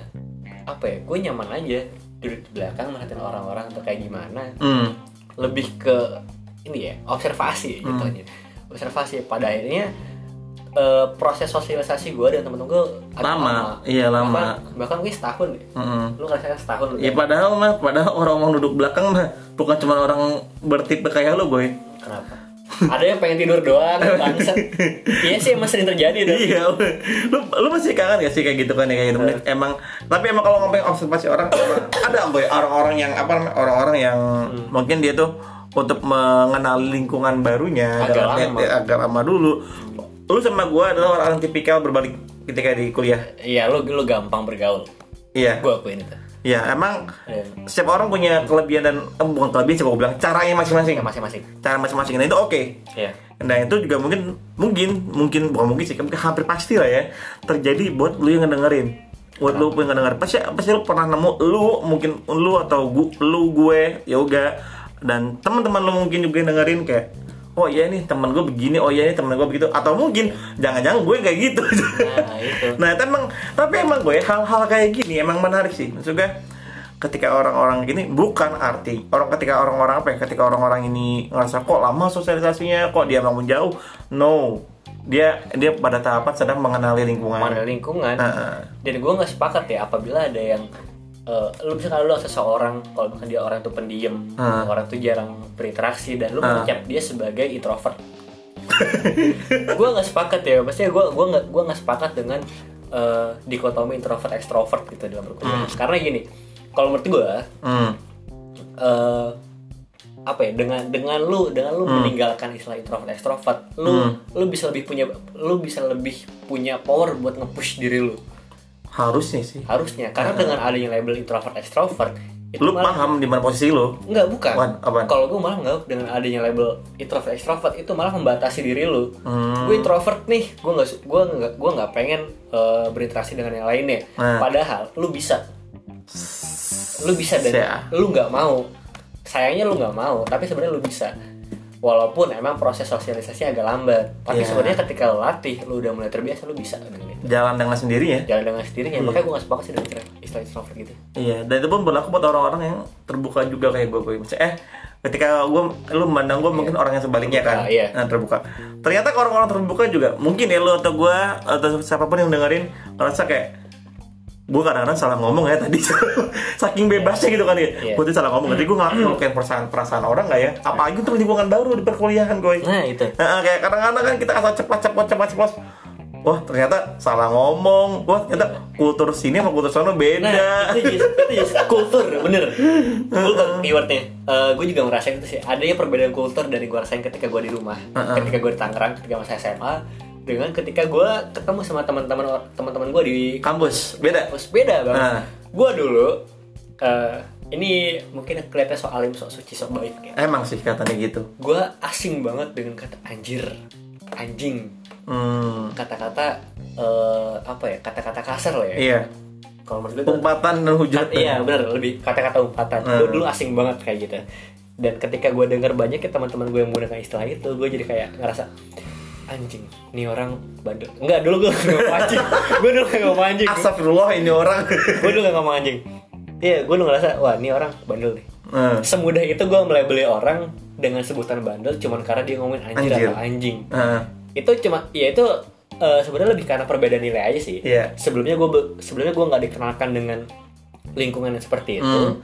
Speaker 1: apa ya gue nyaman aja duduk di belakang ngeliatin orang-orang atau kayak gimana
Speaker 2: Hmm.
Speaker 1: lebih ke ini ya observasi gitu aja observasi ya, pada akhirnya eh, proses sosialisasi gue dan temen-temen gue agak
Speaker 2: Lama. Iya, lama.
Speaker 1: bahkan, bahkan gue setahun ya
Speaker 2: Heeh.
Speaker 1: lu ngerasakan setahun lu
Speaker 2: Ya padahal mah, padahal orang-orang duduk belakang mah bukan cuma orang bertipe kayak lo boy. *laughs*
Speaker 1: Kenapa? Ada yang pengen tidur doang, bangsat. Iya sih emang sering terjadi dong.
Speaker 2: Iya, lu, lu- lu masih kangen gak sih kayak gitu kan ya kayak gitu. Emang, tapi emang kalau ngomongin observasi orang, *coughs* emang ada boy orang-orang yang apa namanya orang-orang yang
Speaker 1: Hmm.
Speaker 2: mungkin dia tuh untuk mengenal lingkungan barunya
Speaker 1: Agak
Speaker 2: dalam-
Speaker 1: lama.
Speaker 2: eh, agak lama dulu. Lu sama gua adalah orang tipikal berbalik ketika di kuliah.
Speaker 1: Iya, lu lu gampang bergaul.
Speaker 2: Iya,
Speaker 1: Gua akuin itu.
Speaker 2: iya emang
Speaker 1: Iya.
Speaker 2: setiap orang punya kelebihan dan eh, bukan kelebihan sih gua bilang caranya masing-masing.
Speaker 1: Kayak Iya, masing-masing.
Speaker 2: Cara masing-masing. Nah itu oke.
Speaker 1: Iya.
Speaker 2: Nah itu juga mungkin mungkin mungkin bukan mungkin sih, mungkin hampir pasti lah ya terjadi buat lu yang ngedengerin, buat lu yang ngedengerin. Pasti pasti lu pernah nemu lu mungkin lu atau gu, lu gue yoga dan teman-teman lu mungkin juga yang dengerin kayak oh iya nih teman gue begini, oh iya nih teman gue begitu atau mungkin jangan-jangan gue kayak gitu.
Speaker 1: Nah, itu.
Speaker 2: nah tapi emang tapi emang gue hal-hal kayak gini emang menarik sih maksudnya ketika orang-orang gini bukan arti orang ketika orang-orang apa ya ketika orang-orang ini ngerasa kok lama sosialisasinya kok dia mau menjauh no dia dia pada tahapan sedang mengenali lingkungan Nah,
Speaker 1: Mana lingkungan.
Speaker 2: Heeh.
Speaker 1: Dan gua nggak sepakat ya apabila ada yang eh, lu bisa kalau lu seseorang kalau misalkan dia orang tuh pendiam,
Speaker 2: Hmm.
Speaker 1: orang tuh jarang berinteraksi dan lu
Speaker 2: Hmm.
Speaker 1: mengecap dia sebagai introvert. *laughs* gua nggak sepakat ya, maksudnya gua gua nggak gua nggak sepakat dengan eh, dikotomi introvert ekstrovert gitu dalam berkuliah. Karena gini, kalau menurut gua
Speaker 2: hmm.
Speaker 1: eh apa ya dengan dengan lu dengan lu
Speaker 2: Hmm.
Speaker 1: meninggalkan istilah introvert extrovert lu lu bisa lebih punya lu bisa lebih punya power buat nge-push diri lu
Speaker 2: harusnya sih
Speaker 1: harusnya karena dengan adanya label introvert extrovert itu
Speaker 2: Ah. lu
Speaker 1: malah
Speaker 2: paham di mana posisi lu
Speaker 1: nggak bukan
Speaker 2: Wan, apaan?
Speaker 1: kalau gue malah nggak dengan adanya label introvert extrovert itu malah membatasi diri lu
Speaker 2: Hmm.
Speaker 1: gue introvert nih gue nggak su- gue nggak gue nggak pengen eh, berinteraksi dengan yang lainnya
Speaker 2: Hmm.
Speaker 1: padahal lu bisa lu bisa dan
Speaker 2: Sia.
Speaker 1: lu nggak mau sayangnya lu nggak mau tapi sebenarnya lu bisa walaupun emang proses sosialisasinya agak lambat tapi
Speaker 2: Ya.
Speaker 1: sebenarnya ketika lu latih lu udah mulai terbiasa lu bisa dengan itu
Speaker 2: jalan dengan sendirinya
Speaker 1: jalan dengan sendirinya makanya gue nggak sepakat sih dengan istilah- istilah introvert gitu
Speaker 2: Iya, dan itu pun berlaku buat orang-orang yang terbuka juga kayak gue, gue. Maksudnya, eh, ketika gue, lu memandang gue mungkin orang yang sebaliknya kan,
Speaker 1: Terbuka, iya.
Speaker 2: nah, terbuka. Ternyata kalau orang-orang terbuka juga, mungkin ya lu atau gue atau siapapun yang dengerin ngerasa kayak gue kadang-kadang salah ngomong ya tadi *laughs* saking bebasnya gitu kan ya
Speaker 1: Iya.
Speaker 2: gue tuh salah ngomong jadi gue
Speaker 1: *clears throat*
Speaker 2: ngelakuin perasaan perasaan orang nggak ya apalagi untuk lingkungan baru di perkuliahan gue
Speaker 1: nah itu
Speaker 2: Nah, kayak kadang-kadang kan kita asal cepat cepat cepat cepat wah ternyata salah ngomong wah ternyata kultur sini sama kultur sana beda
Speaker 1: Iya. Nah, itu just, itu *laughs* just kultur, bener. Kultur, keywordnya. Eh, gue juga ngerasain itu sih. Adanya perbedaan kultur dari gue rasain ketika gue di rumah,
Speaker 2: Heeh.
Speaker 1: ketika gue di Tangerang, ketika masa SMA, dengan ketika gue ketemu sama teman-teman or- teman-teman gue di
Speaker 2: kampus beda
Speaker 1: kampus beda banget.
Speaker 2: Heeh.
Speaker 1: Gue dulu, eh, ini mungkin kelihatan sok alim, sok suci, sok baik. Ya.
Speaker 2: emang sih katanya gitu
Speaker 1: Gue asing banget dengan kata anjir, anjing,
Speaker 2: Hmm.
Speaker 1: kata-kata eh, apa ya kata-kata kasar lah ya
Speaker 2: Iya.
Speaker 1: kalau menurut gue tuh-
Speaker 2: Umpatan dan hujatan.
Speaker 1: Kat- iya benar lebih kata-kata umpatan gue dulu asing banget kayak gitu dan ketika gue dengar banyak ya teman-teman gue yang menggunakan istilah itu gue jadi kayak ngerasa anjing nih orang bandel enggak dulu gue nggak *laughs* ngomong anjing gue dulu nggak ngomong anjing
Speaker 2: Astagfirullah ini orang.
Speaker 1: gue dulu nggak ngomong anjing iya gue dulu ngerasa wah nih orang bandel nih
Speaker 2: Nah,
Speaker 1: semudah itu gue melebeli orang dengan sebutan bandel cuman karena dia ngomongin anjing
Speaker 2: Anjir.
Speaker 1: atau anjing
Speaker 2: nah,
Speaker 1: itu cuma ya itu eh, sebenarnya lebih karena perbedaan nilai aja sih
Speaker 2: Iya.
Speaker 1: sebelumnya gue sebelumnya gue nggak dikenalkan dengan lingkungan yang seperti itu
Speaker 2: Hmm.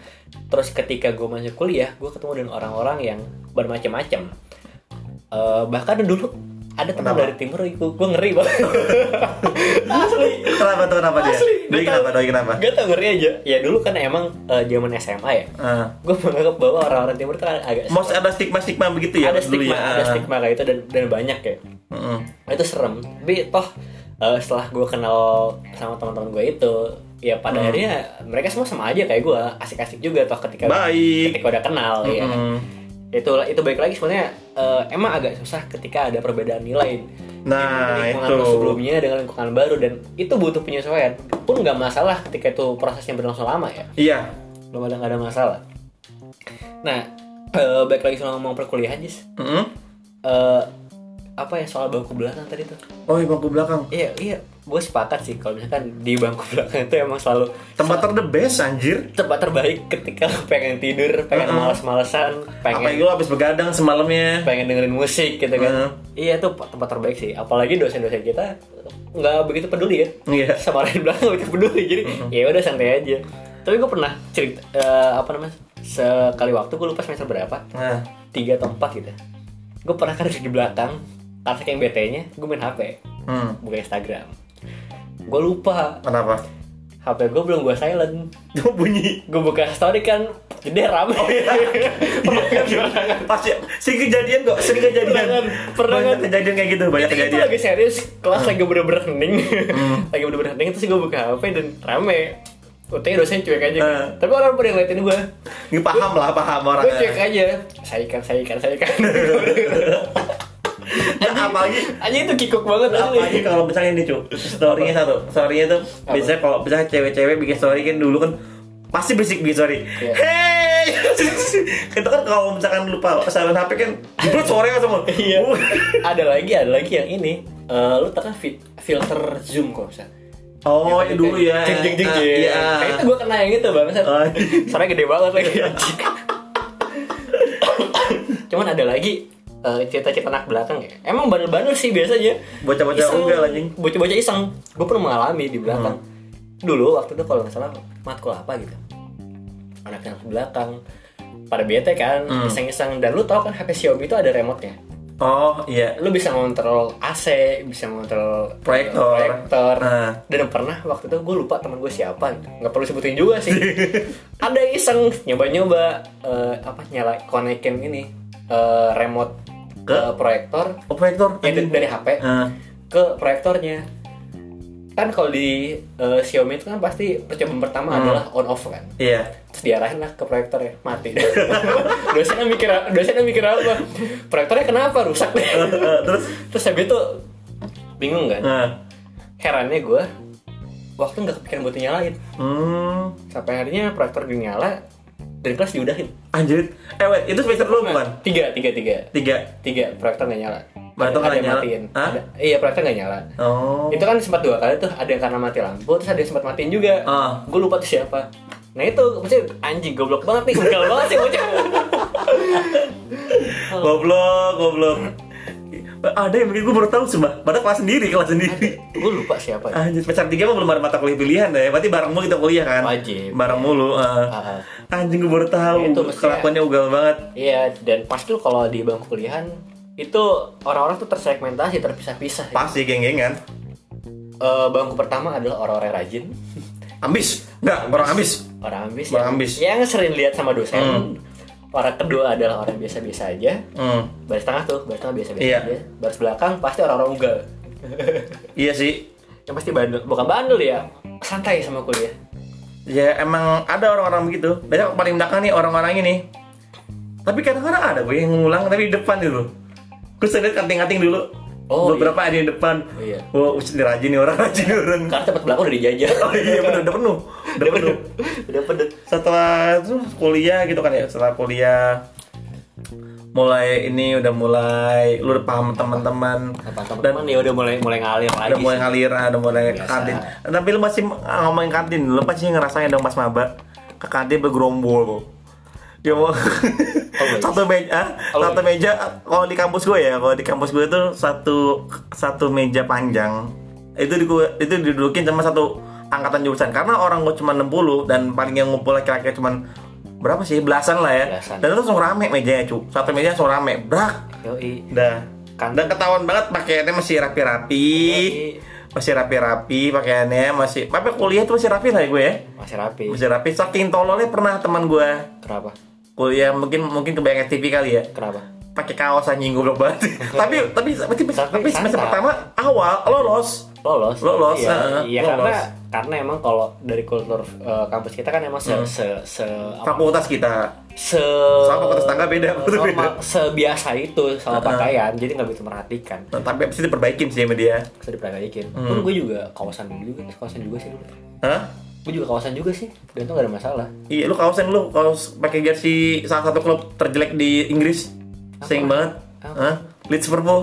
Speaker 1: terus ketika gue masuk kuliah gue ketemu dengan orang-orang yang bermacam-macam Eh, bahkan dulu ada teman
Speaker 2: Kenapa?
Speaker 1: dari timur gue ngeri banget *laughs* asli
Speaker 2: Kenapa tuh kenapa dia?
Speaker 1: Asli,
Speaker 2: Doi
Speaker 1: gak
Speaker 2: kenapa?
Speaker 1: tahu.
Speaker 2: Doi kenapa?
Speaker 1: gak tau ngeri aja ya dulu kan emang eh, zaman SMA ya
Speaker 2: Ah.
Speaker 1: gue menganggap bahwa orang-orang timur itu kan agak
Speaker 2: Most ada stigma-stigma begitu ya
Speaker 1: ada
Speaker 2: dulu
Speaker 1: stigma
Speaker 2: ya.
Speaker 1: ada stigma kayak itu dan dan banyak ya
Speaker 2: Heeh.
Speaker 1: itu serem tapi toh eh, setelah gue kenal sama teman-teman gue itu ya pada
Speaker 2: Hmm.
Speaker 1: akhirnya mereka semua sama aja kayak gue asik-asik juga toh ketika
Speaker 2: Baik.
Speaker 1: ketika udah kenal ya
Speaker 2: Mm.
Speaker 1: itu itu baik lagi sebenarnya eh, emang agak susah ketika ada perbedaan nilai
Speaker 2: Nah,
Speaker 1: lingkungan
Speaker 2: itu.
Speaker 1: lo sebelumnya dengan lingkungan baru dan itu butuh penyesuaian pun nggak masalah ketika itu prosesnya berlangsung lama ya
Speaker 2: Iya.
Speaker 1: belum ada nggak ada masalah nah eh, baik lagi soal ngomong perkuliahan Jis
Speaker 2: Mm-mm.
Speaker 1: Eh, apa ya soal bangku belakang tadi tuh
Speaker 2: Oh, iya, bangku belakang.
Speaker 1: Iya, iya, gue sepakat sih kalau misalkan di bangku belakang itu emang selalu
Speaker 2: Tempat ter the best anjir.
Speaker 1: tempat terbaik ketika *laughs* lo pengen tidur, pengen
Speaker 2: Mm-mm.
Speaker 1: malas-malesan,
Speaker 2: Apa
Speaker 1: pengen
Speaker 2: itu habis begadang semalamnya?
Speaker 1: pengen dengerin musik gitu kan.
Speaker 2: Mm.
Speaker 1: Iya itu tempat terbaik sih. Apalagi dosen-dosen kita nggak begitu peduli ya.
Speaker 2: Iya.
Speaker 1: Sama orang di belakang nggak begitu peduli. Jadi ya udah santai aja. Tapi gue pernah cerita eh, apa namanya sekali waktu gue lupa semester berapa
Speaker 2: Nah,
Speaker 1: tiga atau empat gitu. Gue pernah kan duduk di belakang karena yang BT-nya gue main HP
Speaker 2: hmm.
Speaker 1: buka Instagram. Gue lupa
Speaker 2: Kenapa? *laughs*
Speaker 1: HP gue belum gue silent
Speaker 2: Cuma bunyi.
Speaker 1: Gue buka story kan Jadi rame
Speaker 2: Oh, iya.
Speaker 1: *laughs* Pernah kan jualan?
Speaker 2: Pasti sering kejadian kok, sering kejadian.
Speaker 1: Pernah kan? Pernah
Speaker 2: banyak
Speaker 1: kan?
Speaker 2: kejadian kayak gitu, banyak
Speaker 1: Itu, itu
Speaker 2: kejadian.
Speaker 1: lagi serius Kelas lagi
Speaker 2: Hmm.
Speaker 1: bener-bener hening *laughs* Lagi bener-bener hening Terus gue buka HP dan rame Untungnya dosen cuek aja kan.
Speaker 2: Eh.
Speaker 1: Tapi orang pada ngeliatin gue
Speaker 2: Ini paham lah, paham orang.
Speaker 1: Gue cuek aja Saikan, saikan, saikan
Speaker 2: Nah, *laughs* apalagi
Speaker 1: Aja itu kikuk banget
Speaker 2: apalagi
Speaker 1: asli
Speaker 2: kalau misalnya ini cu storynya satu storynya tuh biasanya kalau misalnya cewek-cewek bikin story kan dulu kan pasti berisik bikin story
Speaker 1: Iya.
Speaker 2: hey *laughs* itu kan kalau misalkan lupa pesan HP kan jebret suaranya semua Uh.
Speaker 1: Iya *laughs* Ada lagi, ada lagi yang ini Eh, Lu tekan fi- filter zoom kok misalnya
Speaker 2: oh ya dulu ya
Speaker 1: Iya, Jeng jeng jeng
Speaker 2: Ah,
Speaker 1: jeng.
Speaker 2: iya
Speaker 1: Kayak itu gue kena yang itu bang.
Speaker 2: Ah.
Speaker 1: Soalnya gede banget lagi.
Speaker 2: Iya.
Speaker 1: anjing. *laughs* Cuman ada lagi eh, cerita-cerita anak belakang ya. Emang bandel-bandel sih biasanya.
Speaker 2: Bocah-bocah
Speaker 1: Iseng.
Speaker 2: ugal, anjing.
Speaker 1: Bocah-bocah iseng. Gue pernah mengalami di belakang.
Speaker 2: Hmm.
Speaker 1: Dulu waktu itu kalau nggak salah matkul apa gitu. Anak-anak belakang pada bete kan
Speaker 2: Hmm.
Speaker 1: iseng-iseng dan lu tau kan HP Xiaomi itu ada remote-nya
Speaker 2: oh iya
Speaker 1: lu bisa ngontrol AC, bisa ngontrol eh,
Speaker 2: Proyektor.
Speaker 1: proyektor.
Speaker 2: Nah.
Speaker 1: Dan pernah waktu itu gue lupa teman gue siapa, gitu. nggak perlu sebutin juga
Speaker 2: *laughs*
Speaker 1: sih. Ada iseng nyoba-nyoba eh, apa nyala konekin ini eh, remote ke
Speaker 2: Ke?
Speaker 1: proyektor,
Speaker 2: oh proyektor
Speaker 1: ya, dari-
Speaker 2: anjing.
Speaker 1: dari HP
Speaker 2: Ah,
Speaker 1: ke proyektornya. Kan kalau di eh, Xiaomi itu kan pasti percobaan pertama
Speaker 2: Hmm.
Speaker 1: adalah on off kan. *laughs*
Speaker 2: iya
Speaker 1: Terus diarahin lah ke proyektornya, mati. *laughs* dosennya mikir dosennya mikir apa? Proyektornya kenapa rusak
Speaker 2: Eh,
Speaker 1: deh?
Speaker 2: eh, terus
Speaker 1: Terus habis itu bingung kan?
Speaker 2: nah
Speaker 1: Herannya gue waktu nggak kepikiran buat nyalain.
Speaker 2: hmm
Speaker 1: Sampai akhirnya proyektor gue nyala dan kelas diudahin.
Speaker 2: anjir eh wait itu semester lu bukan
Speaker 1: Tiga, tiga, tiga,
Speaker 2: tiga
Speaker 1: tiga proyektor nggak nyala.
Speaker 2: Proyektor
Speaker 1: Ada- ada
Speaker 2: nggak
Speaker 1: yang
Speaker 2: nyala?
Speaker 1: Matiin.
Speaker 2: Hah?
Speaker 1: Ada, iya proyektor nggak nyala.
Speaker 2: oh
Speaker 1: Itu kan sempat dua kali tuh ada yang karena mati lampu terus ada yang sempat matiin juga.
Speaker 2: Ah.
Speaker 1: Gue lupa tuh siapa. Nah itu maksudnya anjing goblok banget nih, gagal banget sih
Speaker 2: *laughs*
Speaker 1: bocah.
Speaker 2: goblok goblok ada yang bikin gue baru tahu sumpah padahal kelas sendiri kelas sendiri
Speaker 1: gue lupa siapa.
Speaker 2: Anjir, semester 3 mah belum ada mata kuliah pilihan ya. Berarti bareng mulu kita kuliah kan?
Speaker 1: Wajib.
Speaker 2: Bareng mulu. eh.
Speaker 1: Ah.
Speaker 2: Anjing gue baru tahu.
Speaker 1: Itu ya. mestinya-
Speaker 2: Kelakuannya ugal banget.
Speaker 1: Iya, dan pasti lu kalau di bangku kuliahan itu orang-orang tuh tersegmentasi, terpisah-pisah. ya.
Speaker 2: Pasti geng-gengan.
Speaker 1: Eh, bangku pertama adalah orang-orang yang rajin,
Speaker 2: Ambis. Enggak, orang ambis.
Speaker 1: orang ambis,
Speaker 2: Orang
Speaker 1: yang,
Speaker 2: ambis.
Speaker 1: yang sering lihat sama dosen. Orang kedua adalah orang biasa-biasa aja.
Speaker 2: Hmm.
Speaker 1: Baris tengah tuh, baris tengah biasa-biasa
Speaker 2: Iya.
Speaker 1: aja. Baris belakang pasti orang-orang ugal. *laughs*
Speaker 2: Iya sih.
Speaker 1: yang pasti bandel, bukan bandel ya, santai sama kuliah.
Speaker 2: Ya emang ada orang-orang begitu. Biasanya paling belakang nih orang-orang ini. gitu. Tapi kadang-kadang ada gue yang ngulang tapi di depan dulu. Gue sering liat kating-kating dulu.
Speaker 1: Oh,
Speaker 2: beberapa ada yang depan
Speaker 1: Oh, iya.
Speaker 2: wah ini rajin nih orang *laughs* rajin nih orang
Speaker 1: Karena tempat belakang udah dijajah.
Speaker 2: *laughs* oh iya bener udah penuh udah penuh
Speaker 1: udah penuh.
Speaker 2: setelah itu kuliah gitu kan ya setelah kuliah mulai ini udah mulai lu udah paham teman-teman
Speaker 1: Apa teman-teman ya udah mulai mulai ngalir lagi.
Speaker 2: udah mulai
Speaker 1: sih.
Speaker 2: ngalir udah mulai ke
Speaker 1: Biasa.
Speaker 2: kantin Eh, tapi lu masih ah, ngomongin kantin lu pasti ngerasain dong mas maba ke kantin bergerombol bu ya mau *laughs* satu meja ah,
Speaker 1: Always.
Speaker 2: satu meja kalau di kampus gue ya kalau di kampus gue tuh satu satu meja panjang itu di gua- itu didudukin sama satu angkatan jurusan karena orang gue cuma 60 dan paling yang ngumpul laki-laki cuma berapa sih belasan lah ya
Speaker 1: Belasan.
Speaker 2: dan itu langsung rame mejanya cu satu meja langsung rame brak
Speaker 1: Yoi.
Speaker 2: Dah.
Speaker 1: Kan-
Speaker 2: Dan ketahuan banget pakaiannya masih rapi-rapi. Masih rapi-rapi pakaiannya masih tapi kuliah tuh masih rapi lah ya gue ya.
Speaker 1: Masih rapi.
Speaker 2: Masih rapi. Saking tololnya pernah teman gue
Speaker 1: Kenapa?
Speaker 2: kuliah mungkin mungkin kebayang STV kali ya
Speaker 1: Kenapa?
Speaker 2: pakai kaos anjing goblok
Speaker 1: *laughs*
Speaker 2: banget tapi tapi tapi, tapi,
Speaker 1: Tapi
Speaker 2: semester
Speaker 1: santai.
Speaker 2: pertama awal lolos
Speaker 1: Lolos.
Speaker 2: Lolos,
Speaker 1: Iya,
Speaker 2: heeh,
Speaker 1: iya
Speaker 2: lolos.
Speaker 1: karena karena emang kalau dari kultur eh, kampus kita kan emang se
Speaker 2: Hmm.
Speaker 1: se se apa?
Speaker 2: fakultas kita
Speaker 1: se
Speaker 2: Sama fakultas tangga beda, betul
Speaker 1: sama-
Speaker 2: beda.
Speaker 1: sebiasa itu sama
Speaker 2: Heeh.
Speaker 1: pakaian jadi nggak bisa merhatikan
Speaker 2: Nah, tapi abis itu diperbaikin sih sama dia
Speaker 1: bisa diperbaikin pun gue juga kawasan dulu juga kawasan juga sih
Speaker 2: Hah?
Speaker 1: gue juga kawasan juga sih dan itu nggak ada masalah
Speaker 2: Iya, lu kaos yang lu kaos pakai jersey salah satu klub terjelek di Inggris. Sayang banget.
Speaker 1: Apa?
Speaker 2: Hah? Leeds Liverpool.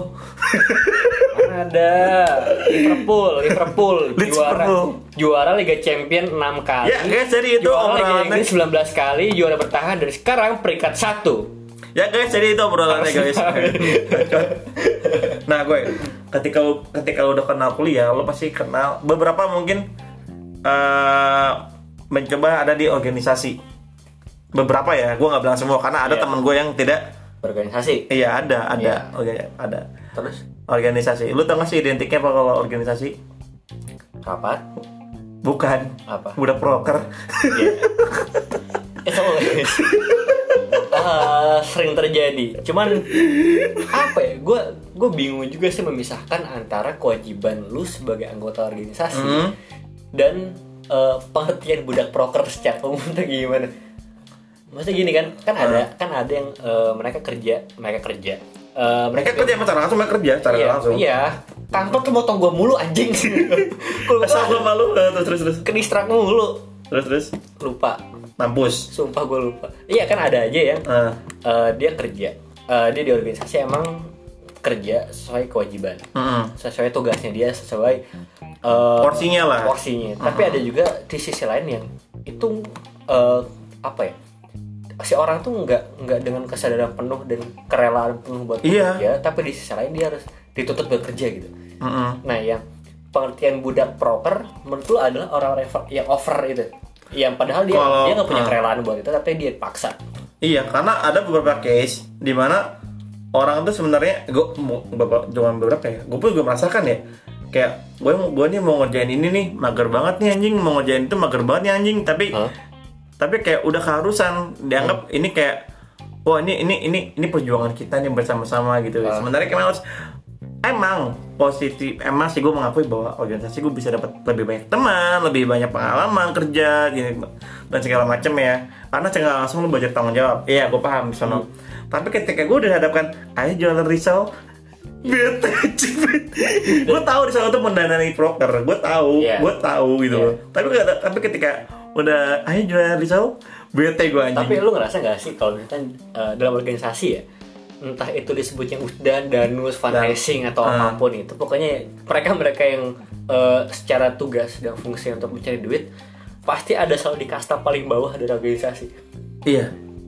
Speaker 1: Mana *laughs* ada Liverpool, *laughs* Liverpool
Speaker 2: Leeds
Speaker 1: juara
Speaker 2: Liverpool.
Speaker 1: juara Liga Champion 6 kali.
Speaker 2: Ya, guys, jadi itu
Speaker 1: juara Liga
Speaker 2: obrolannya.
Speaker 1: Inggris 19 kali, juara bertahan dari sekarang peringkat 1.
Speaker 2: Ya guys, jadi itu obrolannya guys. nah, gue ketika lu ketika lu udah kenal kuliah, lu pasti kenal beberapa mungkin eh mencoba ada di organisasi. Beberapa ya, gue nggak bilang semua karena ada
Speaker 1: Iya.
Speaker 2: temen gue yang tidak
Speaker 1: Berorganisasi.
Speaker 2: iya ada, ada,
Speaker 1: Iya.
Speaker 2: orga- ada
Speaker 1: Terus
Speaker 2: organisasi. Lu tau gak sih identiknya apa kalau organisasi?
Speaker 1: rapat.
Speaker 2: Bukan.
Speaker 1: Apa?
Speaker 2: Budak proker.
Speaker 1: Iya. *laughs* It's always- Ah, sering terjadi. Cuman apa ya? Gue gue bingung juga sih memisahkan antara kewajiban lu sebagai anggota organisasi
Speaker 2: Mhm.
Speaker 1: dan eh, pengertian budak proker secara umum tuh gimana? Maksudnya gini kan, kan ada
Speaker 2: Hmm.
Speaker 1: kan ada yang eh, mereka kerja, mereka kerja. Eh,
Speaker 2: Mereka kerja emang secara langsung, mereka kerja secara
Speaker 1: iya,
Speaker 2: langsung.
Speaker 1: Iya. Tanpa tuh motong gua mulu anjing.
Speaker 2: *laughs*
Speaker 1: Kalau
Speaker 2: Asal
Speaker 1: gua
Speaker 2: gue malu, eh, terus terus terus
Speaker 1: ke distract mulu.
Speaker 2: terus terus.
Speaker 1: Lupa.
Speaker 2: Mampus.
Speaker 1: Sumpah gue lupa. Iya kan ada aja ya.
Speaker 2: Ah.
Speaker 1: Eh, dia kerja. Eh, dia di organisasi emang kerja sesuai kewajiban,
Speaker 2: Mm-mm.
Speaker 1: sesuai tugasnya dia, sesuai eh,
Speaker 2: Porsinya lah.
Speaker 1: Porsinya. Tapi ada juga di sisi lain yang itu eh, apa ya? Si orang tuh nggak nggak dengan kesadaran penuh dan kerelaan penuh buat
Speaker 2: Iya.
Speaker 1: bekerja, tapi di sisi lain dia harus dituntut bekerja gitu.
Speaker 2: Mm-mm.
Speaker 1: Nah, yang pengertian budak proker menurut lu adalah orang-orang yang over itu. Yang padahal dia
Speaker 2: Kalau-
Speaker 1: dia nggak punya
Speaker 2: ah.
Speaker 1: kerelaan buat itu tapi dia paksa.
Speaker 2: Iya, karena ada beberapa case di mana orang tuh sebenarnya gue beberapa jangan beberapa ya, gue pun juga merasakan ya. Kayak gue gue nih mau ngerjain ini nih, mager banget nih anjing, mau ngerjain itu mager banget nih anjing, tapi
Speaker 1: Hah?
Speaker 2: tapi kayak udah keharusan dianggap ini kayak wah ini ini ini ini perjuangan kita nih bersama-sama gitu. Sebenarnya kita harus emang positif emang sih gue mengakui bahwa organisasi gue bisa dapat lebih banyak teman lebih banyak pengalaman kerja gini dan segala macam ya karena secara nggak langsung lu belajar tanggung jawab iya gue paham di sono tapi ketika gue dihadapkan ayo jualan risau *laughs* bete gue tahu di sana tuh mendanai proker gue tahu
Speaker 1: Iya.
Speaker 2: gue tahu gitu
Speaker 1: Iya.
Speaker 2: loh tapi nggak ada- tapi ketika udah ayo jualan risau bete gue anjing
Speaker 1: Tapi lu ngerasa nggak sih kalau misalkan eh, dalam organisasi ya entah itu disebutnya Usdan, Danus, Van
Speaker 2: Dan-
Speaker 1: Helsing atau
Speaker 2: Ah.
Speaker 1: apapun itu pokoknya mereka-mereka yang eh, secara tugas dan fungsi untuk mencari duit pasti ada selalu di kasta paling bawah dari organisasi.
Speaker 2: iya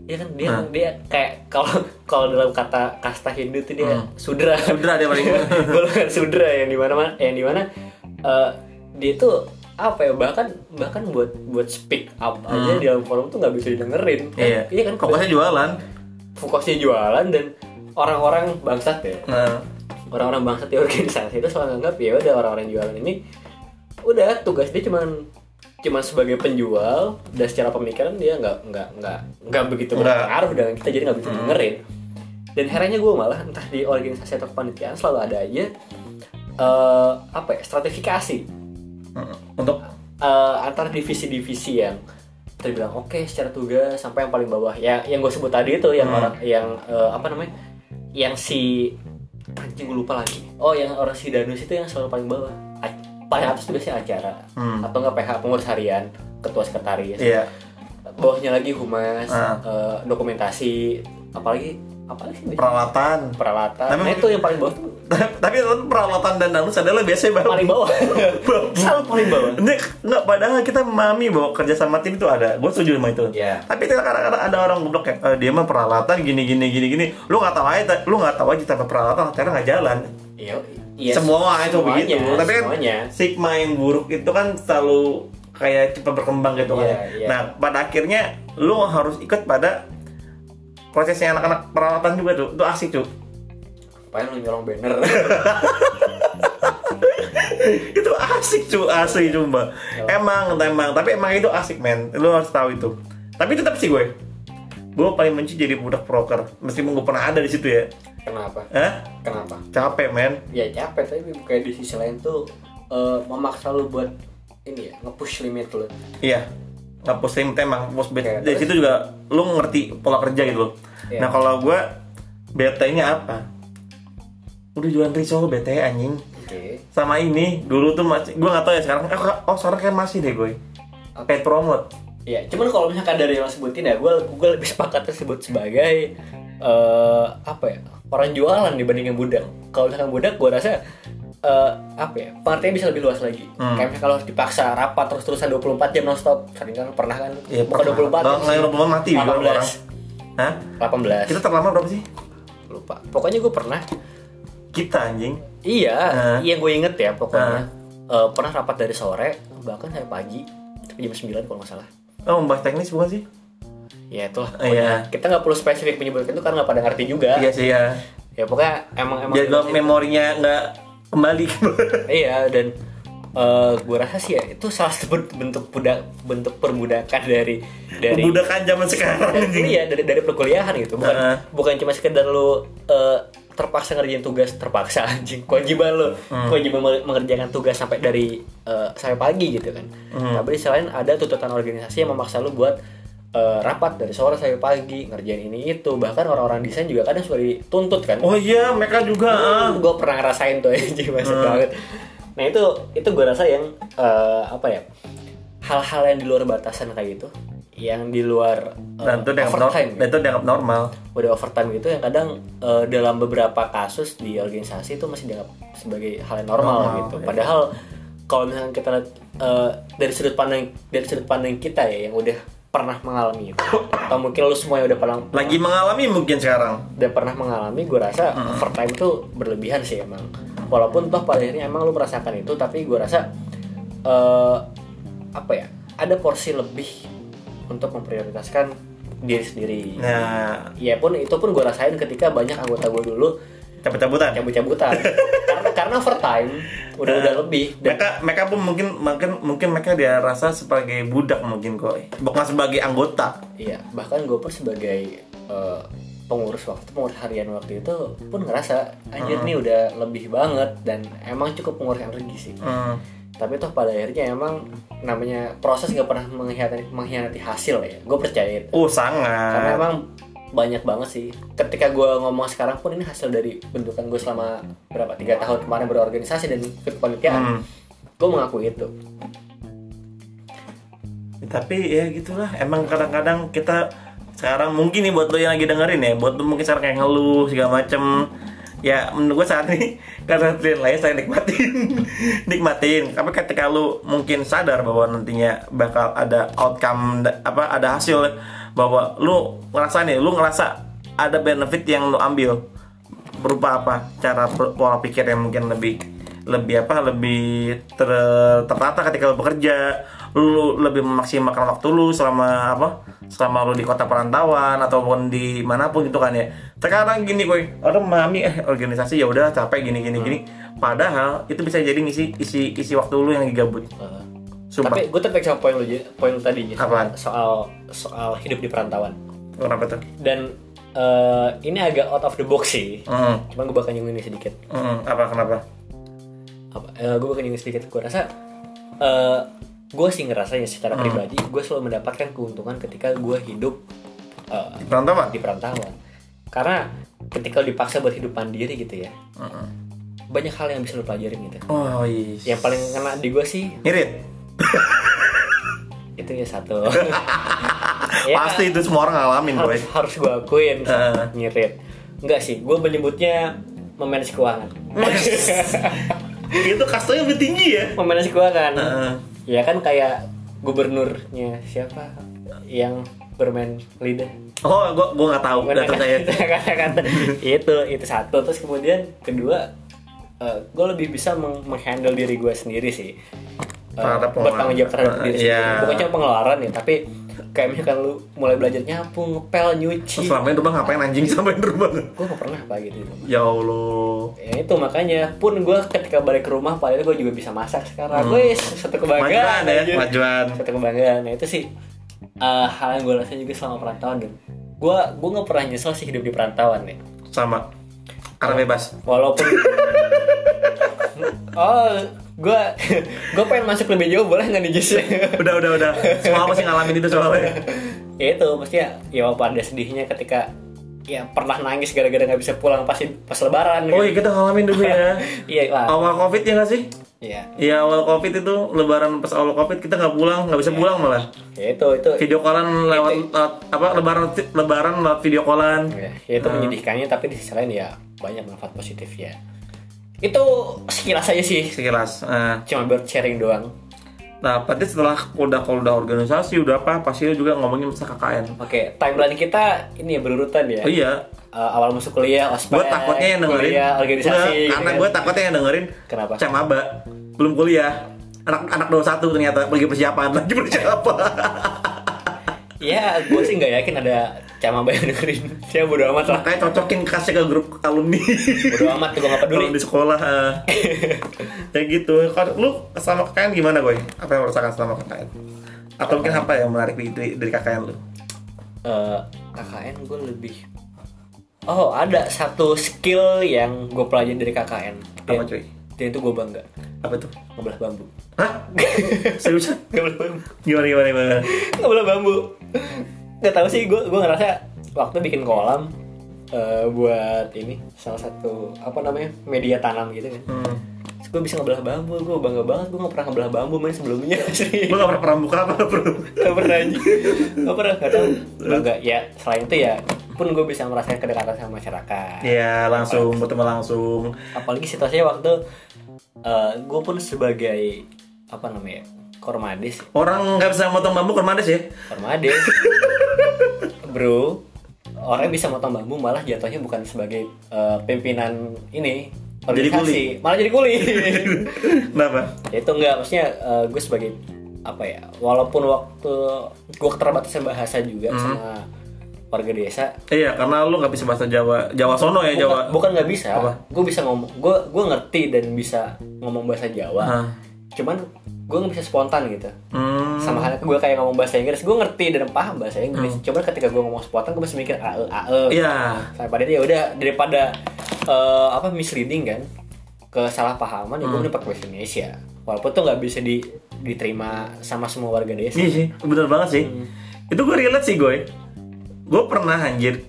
Speaker 1: Iya kan dia dia kayak kalau kalau dalam kata kasta Hindu itu dia
Speaker 2: Ah.
Speaker 1: sudra.
Speaker 2: Sudra dia Iya,
Speaker 1: *laughs*
Speaker 2: paling.
Speaker 1: Iya. Golongan sudra yang di mana yang di mana eh, dia tuh apa ya bahkan bahkan buat buat speak up aja di dalam forum tuh nggak bisa didengerin. Kan,
Speaker 2: Hmm. iya
Speaker 1: Iya kan
Speaker 2: fokusnya jualan
Speaker 1: fokusnya jualan dan orang-orang bangsat ya.
Speaker 2: nah
Speaker 1: Orang-orang bangsat di organisasi itu selalu anggap ya udah orang-orang jualan ini udah tugas dia cuman cuman sebagai penjual dan secara pemikiran dia nggak nggak nggak nggak begitu
Speaker 2: Nggak.
Speaker 1: berpengaruh dengan kita jadi nggak bisa dengerin dan herannya gue malah entah di organisasi atau kepanitiaan selalu ada aja eh, apa ya stratifikasi
Speaker 2: mm, untuk
Speaker 1: eh, antar divisi-divisi yang terbilang oke secara tugas sampai yang paling
Speaker 2: Hmm.
Speaker 1: bawah ya yang gue sebut tadi itu yang orang yang eh, apa namanya yang si anjing gue lupa lagi oh yang orang si danus itu yang selalu paling bawah A- paling atas itu biasanya acara
Speaker 2: Hmm.
Speaker 1: atau nggak PH pengurus harian ketua sekretaris
Speaker 2: Iya.
Speaker 1: bawahnya lagi humas
Speaker 2: Ah.
Speaker 1: eh, dokumentasi apalagi apa sih biasanya?
Speaker 2: Peralatan.
Speaker 1: peralatan
Speaker 2: Tapi
Speaker 1: nah
Speaker 2: mungkin-
Speaker 1: itu yang paling bawah tuh
Speaker 2: *laughs* Tapi teman, peralatan dan danus adalah biasanya baru.
Speaker 1: paling
Speaker 2: *laughs*
Speaker 1: bawah selalu paling bawah
Speaker 2: Nggak, nggak, padahal kita memahami bahwa kerja sama tim itu ada. Gue setuju sama itu.
Speaker 1: Iya.
Speaker 2: Tapi itu kadang-kadang ada orang goblok kayak, "Eh, dia mah peralatan gini gini gini gini. Lu nggak tahu aja, lu nggak tahu aja tanpa peralatan akhirnya nggak jalan.
Speaker 1: iya iya
Speaker 2: semua itu
Speaker 1: semuanya,
Speaker 2: begitu. Tapi kan
Speaker 1: semuanya.
Speaker 2: stigma yang buruk itu kan selalu kayak cepat berkembang gitu
Speaker 1: Iya,
Speaker 2: kan.
Speaker 1: iya.
Speaker 2: Nah, pada akhirnya lu harus ikut pada prosesnya anak-anak peralatan juga tuh. Itu asik tuh.
Speaker 1: Ngapain lu nyolong banner?
Speaker 2: *laughs*
Speaker 1: *laughs*
Speaker 2: itu asik cu asli
Speaker 1: Iya.
Speaker 2: cuma emang emang tapi emang itu asik men lu harus tahu itu tapi tetap sih gue gue paling benci jadi budak proker meskipun gue pernah ada di situ ya
Speaker 1: Kenapa?
Speaker 2: Hah?
Speaker 1: Kenapa?
Speaker 2: capek men
Speaker 1: Ya capek tapi kayak di sisi lain tuh eh, memaksa lu buat ini ya nge-push limit lu.
Speaker 2: iya nggak post limit emang post bet
Speaker 1: Oke,
Speaker 2: dari
Speaker 1: terus?
Speaker 2: situ juga lu ngerti pola kerja gitu loh
Speaker 1: Iya.
Speaker 2: nah kalau gue bete nya apa udah jualan risol bete anjing
Speaker 1: Oke.
Speaker 2: sama ini dulu tuh masih gue nggak tahu ya sekarang eh, oh sekarang kayak masih deh gue paid promote
Speaker 1: Ya, cuman kalau misalkan dari yang lo sebutin ya gue gue lebih sepakat tersebut sebagai eh apa ya? Orang jualan dibanding yang budak. Kalau misalkan budak gue rasa eh apa ya? Partinya bisa lebih luas lagi. Kayak
Speaker 2: Hmm.
Speaker 1: misalkan kalau harus dipaksa rapat terus-terusan 24 jam nonstop. Sering kan pernah kan?
Speaker 2: Iya,
Speaker 1: Bukan
Speaker 2: pernah.
Speaker 1: 24 jam.
Speaker 2: Kalau ngelain
Speaker 1: sih.
Speaker 2: 24 mati, bilang orang. Hah?
Speaker 1: 18. 18.
Speaker 2: Kita terlama berapa sih?
Speaker 1: Lupa. Pokoknya gue pernah
Speaker 2: Kita anjing.
Speaker 1: Iya,
Speaker 2: Nah.
Speaker 1: yang gue inget ya pokoknya Eh, pernah rapat dari sore bahkan sampai pagi sampai jam 9 kalau nggak salah.
Speaker 2: Oh, membahas teknis bukan sih?
Speaker 1: Ya itulah.
Speaker 2: Oh, iya.
Speaker 1: pokoknya. Kita nggak perlu spesifik menyebutkan itu karena nggak pada ngerti juga.
Speaker 2: Iya sih ya.
Speaker 1: Ya pokoknya emang emang.
Speaker 2: Biar kalau memorinya nggak kembali.
Speaker 1: Iya dan eh gue rasa sih ya itu salah satu bentuk budak bentuk perbudakan dari dari
Speaker 2: Budakan zaman
Speaker 1: *laughs*
Speaker 2: sekarang
Speaker 1: dari
Speaker 2: anjing.
Speaker 1: kuliah ya, dari dari perkuliahan gitu bukan
Speaker 2: Heeh.
Speaker 1: bukan cuma sekedar lu eh, terpaksa ngerjain tugas terpaksa anjing kewajiban lu
Speaker 2: Hmm.
Speaker 1: kewajiban me- mengerjakan tugas sampai dari eh, sampai pagi gitu kan
Speaker 2: Hmm.
Speaker 1: tapi di sisi lain ada tuntutan organisasi yang memaksa lu buat eh, rapat dari sore sampai pagi ngerjain ini itu bahkan orang-orang desain juga kadang suka dituntut kan
Speaker 2: Oh iya, mereka juga. ah.
Speaker 1: gue pernah ngerasain tuh *laughs* anjing masuk
Speaker 2: Hmm.
Speaker 1: banget nah itu itu gue rasa yang eh, apa ya hal-hal yang di luar batasan kayak gitu yang di luar eh,
Speaker 2: Dan itu dianggap normal.
Speaker 1: overtime
Speaker 2: Dan itu dianggap normal.
Speaker 1: udah overtime gitu yang kadang eh, dalam beberapa kasus di organisasi itu masih dianggap sebagai hal yang normal,
Speaker 2: Normal,
Speaker 1: gitu.
Speaker 2: iya.
Speaker 1: Padahal kalau misalnya kita lihat eh, dari sudut pandang dari sudut pandang kita ya yang udah pernah mengalami itu atau mungkin lu semua yang udah pernah
Speaker 2: Lagi mengalami mungkin sekarang.
Speaker 1: udah pernah mengalami gue rasa overtime itu berlebihan sih emang walaupun toh pada akhirnya emang lu merasakan itu tapi gue rasa eh, apa ya ada porsi lebih untuk memprioritaskan diri sendiri
Speaker 2: Nah,
Speaker 1: Iya pun itu pun gue rasain ketika banyak anggota gue dulu
Speaker 2: cabut-cabutan.
Speaker 1: cabut-cabutan karena karena overtime udah udah lebih dan
Speaker 2: Mereka, mereka pun mungkin, mungkin, mungkin mereka dia rasa sebagai budak mungkin kok. Bukan sebagai anggota.
Speaker 1: iya bahkan gue pun sebagai eh, pengurus waktu pengurus harian waktu itu pun ngerasa anjir nih udah lebih banget dan emang cukup pengurus energi sih
Speaker 2: Hmm.
Speaker 1: tapi toh pada akhirnya emang namanya proses gak pernah mengkhianati, mengkhianati hasil ya gue percaya itu
Speaker 2: Oh
Speaker 1: karena
Speaker 2: sangat.
Speaker 1: emang banyak banget sih ketika gue ngomong sekarang pun ini hasil dari bentukan gue selama berapa tiga tahun kemarin berorganisasi dan kepanitiaan
Speaker 2: Hmm.
Speaker 1: gue mengakui itu
Speaker 2: tapi ya gitulah emang kadang-kadang kita sekarang mungkin nih buat lo yang lagi dengerin ya buat lo mungkin sekarang kayak ngeluh segala macem ya menurut gue saat ini *laughs* karena pilihan lain saya nikmatin *laughs* nikmatin tapi ketika lu mungkin sadar bahwa nantinya bakal ada outcome da- apa ada hasil bahwa lu ngerasa nih lu ngerasa ada benefit yang lu ambil berupa apa cara per- pola pikir yang mungkin lebih lebih apa lebih ter- tertata ketika lo bekerja lu lebih memaksimalkan waktu lu selama apa selama lu di kota perantauan ataupun di manapun gitu kan ya sekarang gini gue orang mami eh organisasi ya udah capek gini gini gini
Speaker 1: Hmm.
Speaker 2: padahal itu bisa jadi ngisi isi isi waktu lu yang digabut
Speaker 1: Uh,
Speaker 2: sumpah
Speaker 1: tapi gue tertarik sama poin lu Ji- poin lu tadi Ji,
Speaker 2: Apaan?
Speaker 1: soal soal hidup di perantauan
Speaker 2: kenapa tuh
Speaker 1: dan eh, ini agak out of the box sih
Speaker 2: Mm,
Speaker 1: cuman gue bakal nyinggung ini sedikit
Speaker 2: mm, apa kenapa
Speaker 1: apa gue bakal nyinggung sedikit gue rasa eh gue sih ngerasanya secara
Speaker 2: Hmm.
Speaker 1: pribadi gue selalu mendapatkan keuntungan ketika gue hidup eh,
Speaker 2: di perantauan
Speaker 1: di perantauan karena ketika lu dipaksa buat hidup mandiri gitu ya
Speaker 2: Mm-mm.
Speaker 1: banyak hal yang bisa lu pelajarin gitu
Speaker 2: Oh, is.
Speaker 1: yang paling kena di gue sih
Speaker 2: irit.
Speaker 1: itu ya
Speaker 2: *laughs*
Speaker 1: satu Ya,
Speaker 2: Pasti itu semua orang ngalamin, boy. Ah.
Speaker 1: harus harus gue akuin
Speaker 2: Heeh.
Speaker 1: ngirit enggak sih gue menyebutnya memanage
Speaker 2: *laughs*
Speaker 1: keuangan
Speaker 2: itu kastanya lebih tinggi ya.
Speaker 1: memanage keuangan
Speaker 2: Heeh.
Speaker 1: ya kan kayak gubernurnya siapa yang bermain lidah
Speaker 2: Oh, gua gua nggak tahu ya.
Speaker 1: Bukan *laughs*
Speaker 2: data saya.
Speaker 1: kata-kata itu itu satu terus kemudian kedua gue lebih bisa meng- menghandle diri gue sendiri sih Eh,
Speaker 2: Terhadap pengeluaran.
Speaker 1: bertanggung jawab terhadap diri
Speaker 2: Eh,
Speaker 1: sendiri
Speaker 2: iya.
Speaker 1: bukan cuma pengeluaran ya tapi kayak misalkan lu mulai belajar nyapu ngepel nyuci
Speaker 2: Selama ini rumah ngapain anjing *laughs* sampai di rumah?
Speaker 1: gue gak pernah apa gitu
Speaker 2: Ya Allah.
Speaker 1: ya itu makanya pun gue ketika balik ke rumah padahal gue juga bisa masak sekarang gue satu
Speaker 2: Majuan
Speaker 1: kebanggaan
Speaker 2: ya,
Speaker 1: anjir.
Speaker 2: majuan.
Speaker 1: satu kebanggaan nah itu sih eh, hal yang gue rasain juga selama perantauan gitu gue gue nggak pernah nyesel sih hidup di perantauan ya
Speaker 2: Sama. Karena bebas.
Speaker 1: walaupun *laughs* oh gue *laughs* gue pengen masuk lebih jauh boleh nggak nih Jis *laughs*
Speaker 2: Udah, udah, *laughs* udah. Semua apa sih ngalamin itu soalnya?
Speaker 1: ya itu maksudnya ya walaupun ada sedihnya ketika ya pernah nangis gara-gara nggak bisa pulang pas pas lebaran gitu.
Speaker 2: Oh iya, kita ngalamin dulu ya.
Speaker 1: iya wah
Speaker 2: Awal covid ya nggak sih?
Speaker 1: iya
Speaker 2: Iya awal covid itu lebaran pas awal covid kita nggak pulang nggak bisa pulang malah
Speaker 1: ya itu itu
Speaker 2: video callan lewat, lewat- apa lebaran lebaran lewat video callan
Speaker 1: ya, ya
Speaker 2: Nah.
Speaker 1: itu menyedihkannya tapi di sisi lain ya banyak manfaat positif ya itu sekilas aja sih
Speaker 2: sekilas. Nah,
Speaker 1: cuma buat sharing doang
Speaker 2: nah berarti setelah udah kalau udah organisasi udah apa pasti lu juga ngomongin masa KKN.
Speaker 1: oke timeline kita ini ya berurutan ya
Speaker 2: Oh iya,
Speaker 1: Eh, awal masuk kuliah ospek
Speaker 2: gue takutnya yang dengerin
Speaker 1: kuliah, organisasi
Speaker 2: Nggak,
Speaker 1: gitu
Speaker 2: karena
Speaker 1: kan.
Speaker 2: gue takutnya yang dengerin
Speaker 1: Kenapa?
Speaker 2: camaba belum kuliah anak anak 21 ternyata lagi persiapan *laughs* lagi persiapan
Speaker 1: Ya, gue sih nggak yakin ada cama bayar dengerin. *laughs* Saya bodo amat lah.
Speaker 2: makanya cocokin kasih ke grup alumni
Speaker 1: Bodo amat tuh gue nggak peduli.
Speaker 2: kalau di sekolah
Speaker 1: *laughs*
Speaker 2: eh. ya gitu kalau lu sama KKN gimana boy apa yang merasakan selama KKN atau mungkin apa yang menarik di- di- dari KKN lu
Speaker 1: Eh, KKN gue lebih. Oh, ada satu skill yang gue pelajari dari KKN.
Speaker 2: apa
Speaker 1: Dan,
Speaker 2: cuy
Speaker 1: dan itu gue bangga.
Speaker 2: apa tuh
Speaker 1: Ngebelah bambu. *laughs*
Speaker 2: hah seriusan
Speaker 1: Ngebelah bambu.
Speaker 2: gimana gimana gimana
Speaker 1: Ngebelah bambu. Gak tau sih, gue gue ngerasa waktu bikin kolam eh, buat ini salah satu apa namanya media tanam gitu kan.
Speaker 2: hmm.
Speaker 1: Terus gue bisa ngebelah bambu, gue bangga banget. Gue nggak pernah ngebelah bambu main sebelumnya. *laughs* asli.
Speaker 2: lu gak pernah pramuka apa bro
Speaker 1: Gak pernah aja Gak pernah, gak tau Bangga, ya selain itu ya Pun gue bisa merasakan kedekatan sama masyarakat
Speaker 2: ya langsung bertemu langsung
Speaker 1: Apalagi situasinya waktu eh, Gue pun sebagai Apa namanya Kormadis
Speaker 2: orang nggak bisa motong bambu kormades ya
Speaker 1: Kormadis Bro Orang bisa motong bambu malah jatuhnya bukan sebagai eh, pimpinan ini
Speaker 2: Jadi kuli.
Speaker 1: organisasi malah jadi kuli *laughs*
Speaker 2: Kenapa?
Speaker 1: Ya itu enggak maksudnya gue sebagai apa ya walaupun waktu gue keterbatasan bahasa juga
Speaker 2: Hmm.
Speaker 1: sama warga desa
Speaker 2: Iya, karena lu nggak bisa bahasa Jawa, Jawa sono ya Jawa.
Speaker 1: Bukan- bukan nggak bisa
Speaker 2: Apa?
Speaker 1: gue bisa ngomong gue gue ngerti dan bisa ngomong bahasa Jawa
Speaker 2: Hah.
Speaker 1: cuman gue nggak bisa spontan gitu
Speaker 2: Hmm.
Speaker 1: sama halnya gue kayak ngomong bahasa Inggris gue ngerti dan paham bahasa Inggris cuman ketika gue ngomong spontan gue masih mikir ae ae
Speaker 2: Iya.
Speaker 1: saya pada itu ya udah daripada eh, apa misleading kan kesalahpahaman ya gue mending pakai bahasa Indonesia walaupun tuh nggak bisa di- diterima sama semua warga desa
Speaker 2: Iya sih, bener banget sih. Itu gue relate sih gue. Gue pernah anjir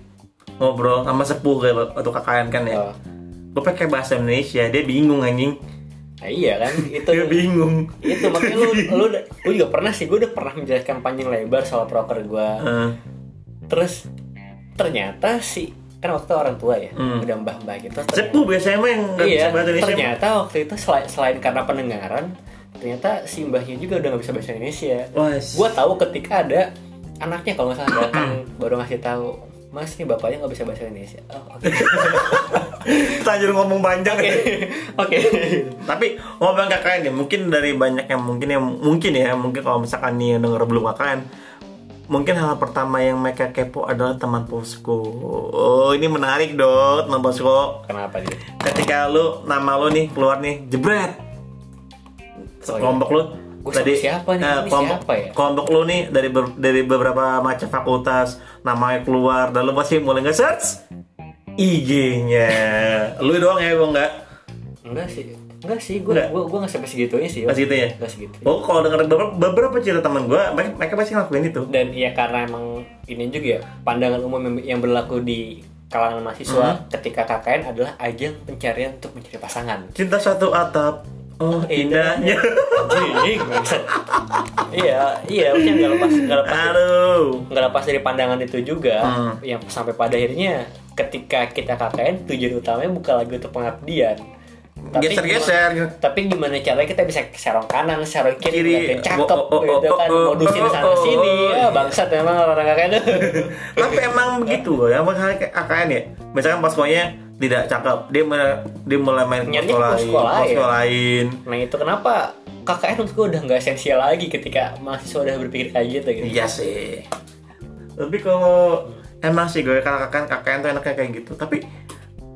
Speaker 2: ngobrol sama sepuh gue waktu KKN kan ya.
Speaker 1: Oh.
Speaker 2: Gue pakai bahasa Indonesia, dia bingung anjing.
Speaker 1: nah, iya kan itu
Speaker 2: Dia bingung.
Speaker 1: itu makanya lu lu lu juga pernah sih gue udah pernah menjelaskan panjang lebar soal proker gue
Speaker 2: Heeh.
Speaker 1: terus ternyata si kan waktu orang tua ya
Speaker 2: Hmm.
Speaker 1: udah mbah mbah gitu
Speaker 2: sepuh biasanya mah yang nggak
Speaker 1: iya
Speaker 2: bisa bahasa Indonesia.
Speaker 1: ternyata waktu itu selain, selain karena pendengaran ternyata si mbahnya juga udah nggak bisa bahasa Indonesia
Speaker 2: Wah,
Speaker 1: gua tahu ketika ada anaknya kalau nggak salah datang baru ngasih tahu mas nih bapaknya nggak bisa bahasa Indonesia oh, oke
Speaker 2: anjir ngomong panjang.
Speaker 1: oke oke
Speaker 2: Tapi ngomong KKN ya, mungkin dari banyak yang mungkin yang mungkin ya, mungkin kalau misalkan nih yang denger belum KKN, mungkin hal pertama yang mereka kepo adalah teman posko. Oh, ini menarik dong, teman posko.
Speaker 1: kenapa dia
Speaker 2: Ketika lu nama lu nih keluar nih, jebret. Kelompok lu
Speaker 1: Oh, iya. Gua sama siapa nih?
Speaker 2: eh,
Speaker 1: Ini
Speaker 2: kelompok,
Speaker 1: siapa ya?
Speaker 2: kelompok lu nih dari ber- dari beberapa macam fakultas namanya keluar dan lu pasti mulai nge-search IG-nya. lu doang ya, gua enggak.
Speaker 1: enggak sih enggak sih gua
Speaker 2: Nggak.
Speaker 1: gua gua nggak sampai segitunya sih
Speaker 2: Masih gitu ya?
Speaker 1: enggak segitu
Speaker 2: Oh, kalau denger beberapa, beberapa cerita teman gue, mereka, mereka pasti ngelakuin itu.
Speaker 1: dan ya karena emang ini juga ya, pandangan umum yang, yang berlaku di kalangan mahasiswa ketika KKN adalah ajang pencarian untuk mencari pasangan.
Speaker 2: Cinta satu atap. Oh, indahnya.
Speaker 1: Anjing, bangsat. iya, iya, maksudnya nggak lepas nggak lepas
Speaker 2: Aduh.
Speaker 1: nggak lepas dari pandangan itu juga
Speaker 2: Hmm.
Speaker 1: yang sampai pada akhirnya ketika kita KKN tujuan utamanya bukan lagi untuk pengabdian tapi gimana,
Speaker 2: Geser-geser.
Speaker 1: tapi gimana caranya kita bisa serong kanan serong kiri,
Speaker 2: Kiri.
Speaker 1: ngeliatin cakep
Speaker 2: Oh, oh, oh,
Speaker 1: gitu kan
Speaker 2: oh, oh,
Speaker 1: modusin
Speaker 2: oh,
Speaker 1: sana
Speaker 2: oh,
Speaker 1: sini
Speaker 2: oh,
Speaker 1: ya
Speaker 2: iya.
Speaker 1: bangsat memang orang KKN tuh
Speaker 2: Tapi emang begitu loh, yang masalah kayak AKN ya. Misalkan paspornya tidak cakep, dia mulai, dia mulai main
Speaker 1: Nyarinya ke
Speaker 2: posko lain,
Speaker 1: posko lain.
Speaker 2: posko lain.
Speaker 1: nah itu kenapa KKN menurut gue udah nggak esensial lagi ketika mahasiswa udah berpikir kayak gitu gitu
Speaker 2: Iya sih. Tapi kalau emang sih gue karena KKN, KKN tuh enaknya kayak gitu. Tapi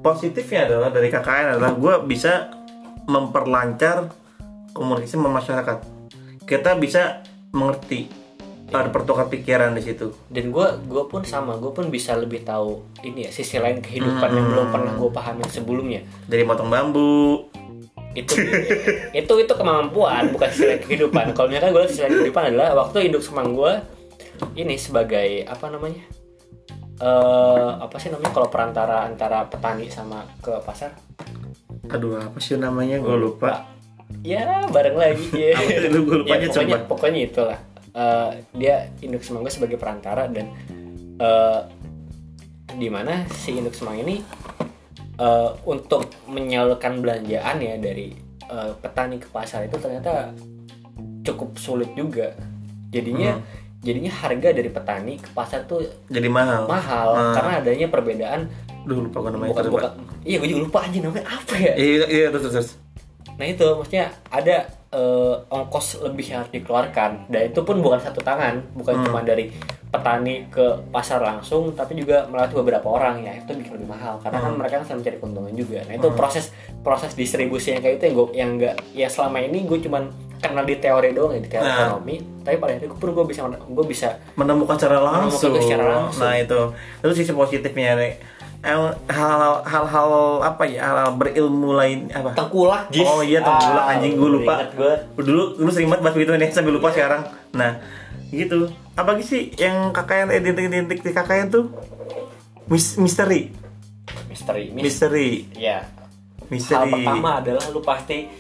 Speaker 2: positifnya adalah dari KKN adalah gue bisa memperlancar komunikasi sama masyarakat. Kita bisa mengerti ada pertukaran pikiran di situ.
Speaker 1: dan gue gua pun sama gue pun bisa lebih tahu ini ya sisi lain kehidupan yang belum pernah gue pahamin sebelumnya
Speaker 2: Dari motong bambu,
Speaker 1: itu itu itu kemampuan bukan sisi lain kehidupan kalau misalkan gue sisi lain kehidupan adalah waktu induk semang gue ini sebagai apa namanya eh apa sih namanya kalau perantara antara petani sama ke pasar
Speaker 2: aduh apa sih namanya gue lupa.
Speaker 1: ya bareng lagi ya,
Speaker 2: Apa sih? Lu- gua lupanya,
Speaker 1: Ya, pokoknya
Speaker 2: coba.
Speaker 1: pokoknya itulah Eh, dia induk semang gue sebagai perantara dan eh di mana si induk semang ini eh, untuk menyalurkan belanjaan ya dari eh, petani ke pasar itu ternyata cukup sulit juga jadinya jadinya harga dari petani ke pasar tuh
Speaker 2: Jadi mahal.
Speaker 1: mahal
Speaker 2: Hmm.
Speaker 1: karena adanya perbedaan
Speaker 2: Duh lupa gue namanya.
Speaker 1: bukan
Speaker 2: Coba.
Speaker 1: bukan iya gue juga lupa anjing namanya apa ya
Speaker 2: Iya iya terus terus.
Speaker 1: Nah itu maksudnya ada eh, ongkos lebih yang harus dikeluarkan dan itu pun bukan satu tangan, bukan
Speaker 2: Hmm.
Speaker 1: cuma dari petani ke pasar langsung, tapi juga melalui beberapa orang ya itu bikin lebih mahal karena kan
Speaker 2: Hmm.
Speaker 1: mereka kan selalu mencari keuntungan juga. Nah itu proses proses distribusi yang kayak itu yang gue yang enggak ya selama ini gue cuman kenal di teori doang ya di teori
Speaker 2: Nah.
Speaker 1: ekonomi, tapi pada akhirnya gue gue bisa gue bisa
Speaker 2: menemukan secara langsung.
Speaker 1: Menemukan secara langsung.
Speaker 2: Nah itu itu sisi positifnya nih. Em, Hal-hal hal-hal apa ya hal-hal berilmu lain apa?
Speaker 1: tengkulak Jis.
Speaker 2: Oh iya tengkulak
Speaker 1: Ah,
Speaker 2: anjing gue lupa.
Speaker 1: ingat Iya. gue.
Speaker 2: Dulu dulu sering banget bahas begitu nih sampai lupa sekarang. Nah gitu. Apalagi sih yang KKN identik-identik di KKN tuh mis- misteri,
Speaker 1: Misteri, misteri.
Speaker 2: misteri,
Speaker 1: Ya, Hal
Speaker 2: misteri.
Speaker 1: pertama adalah lu pasti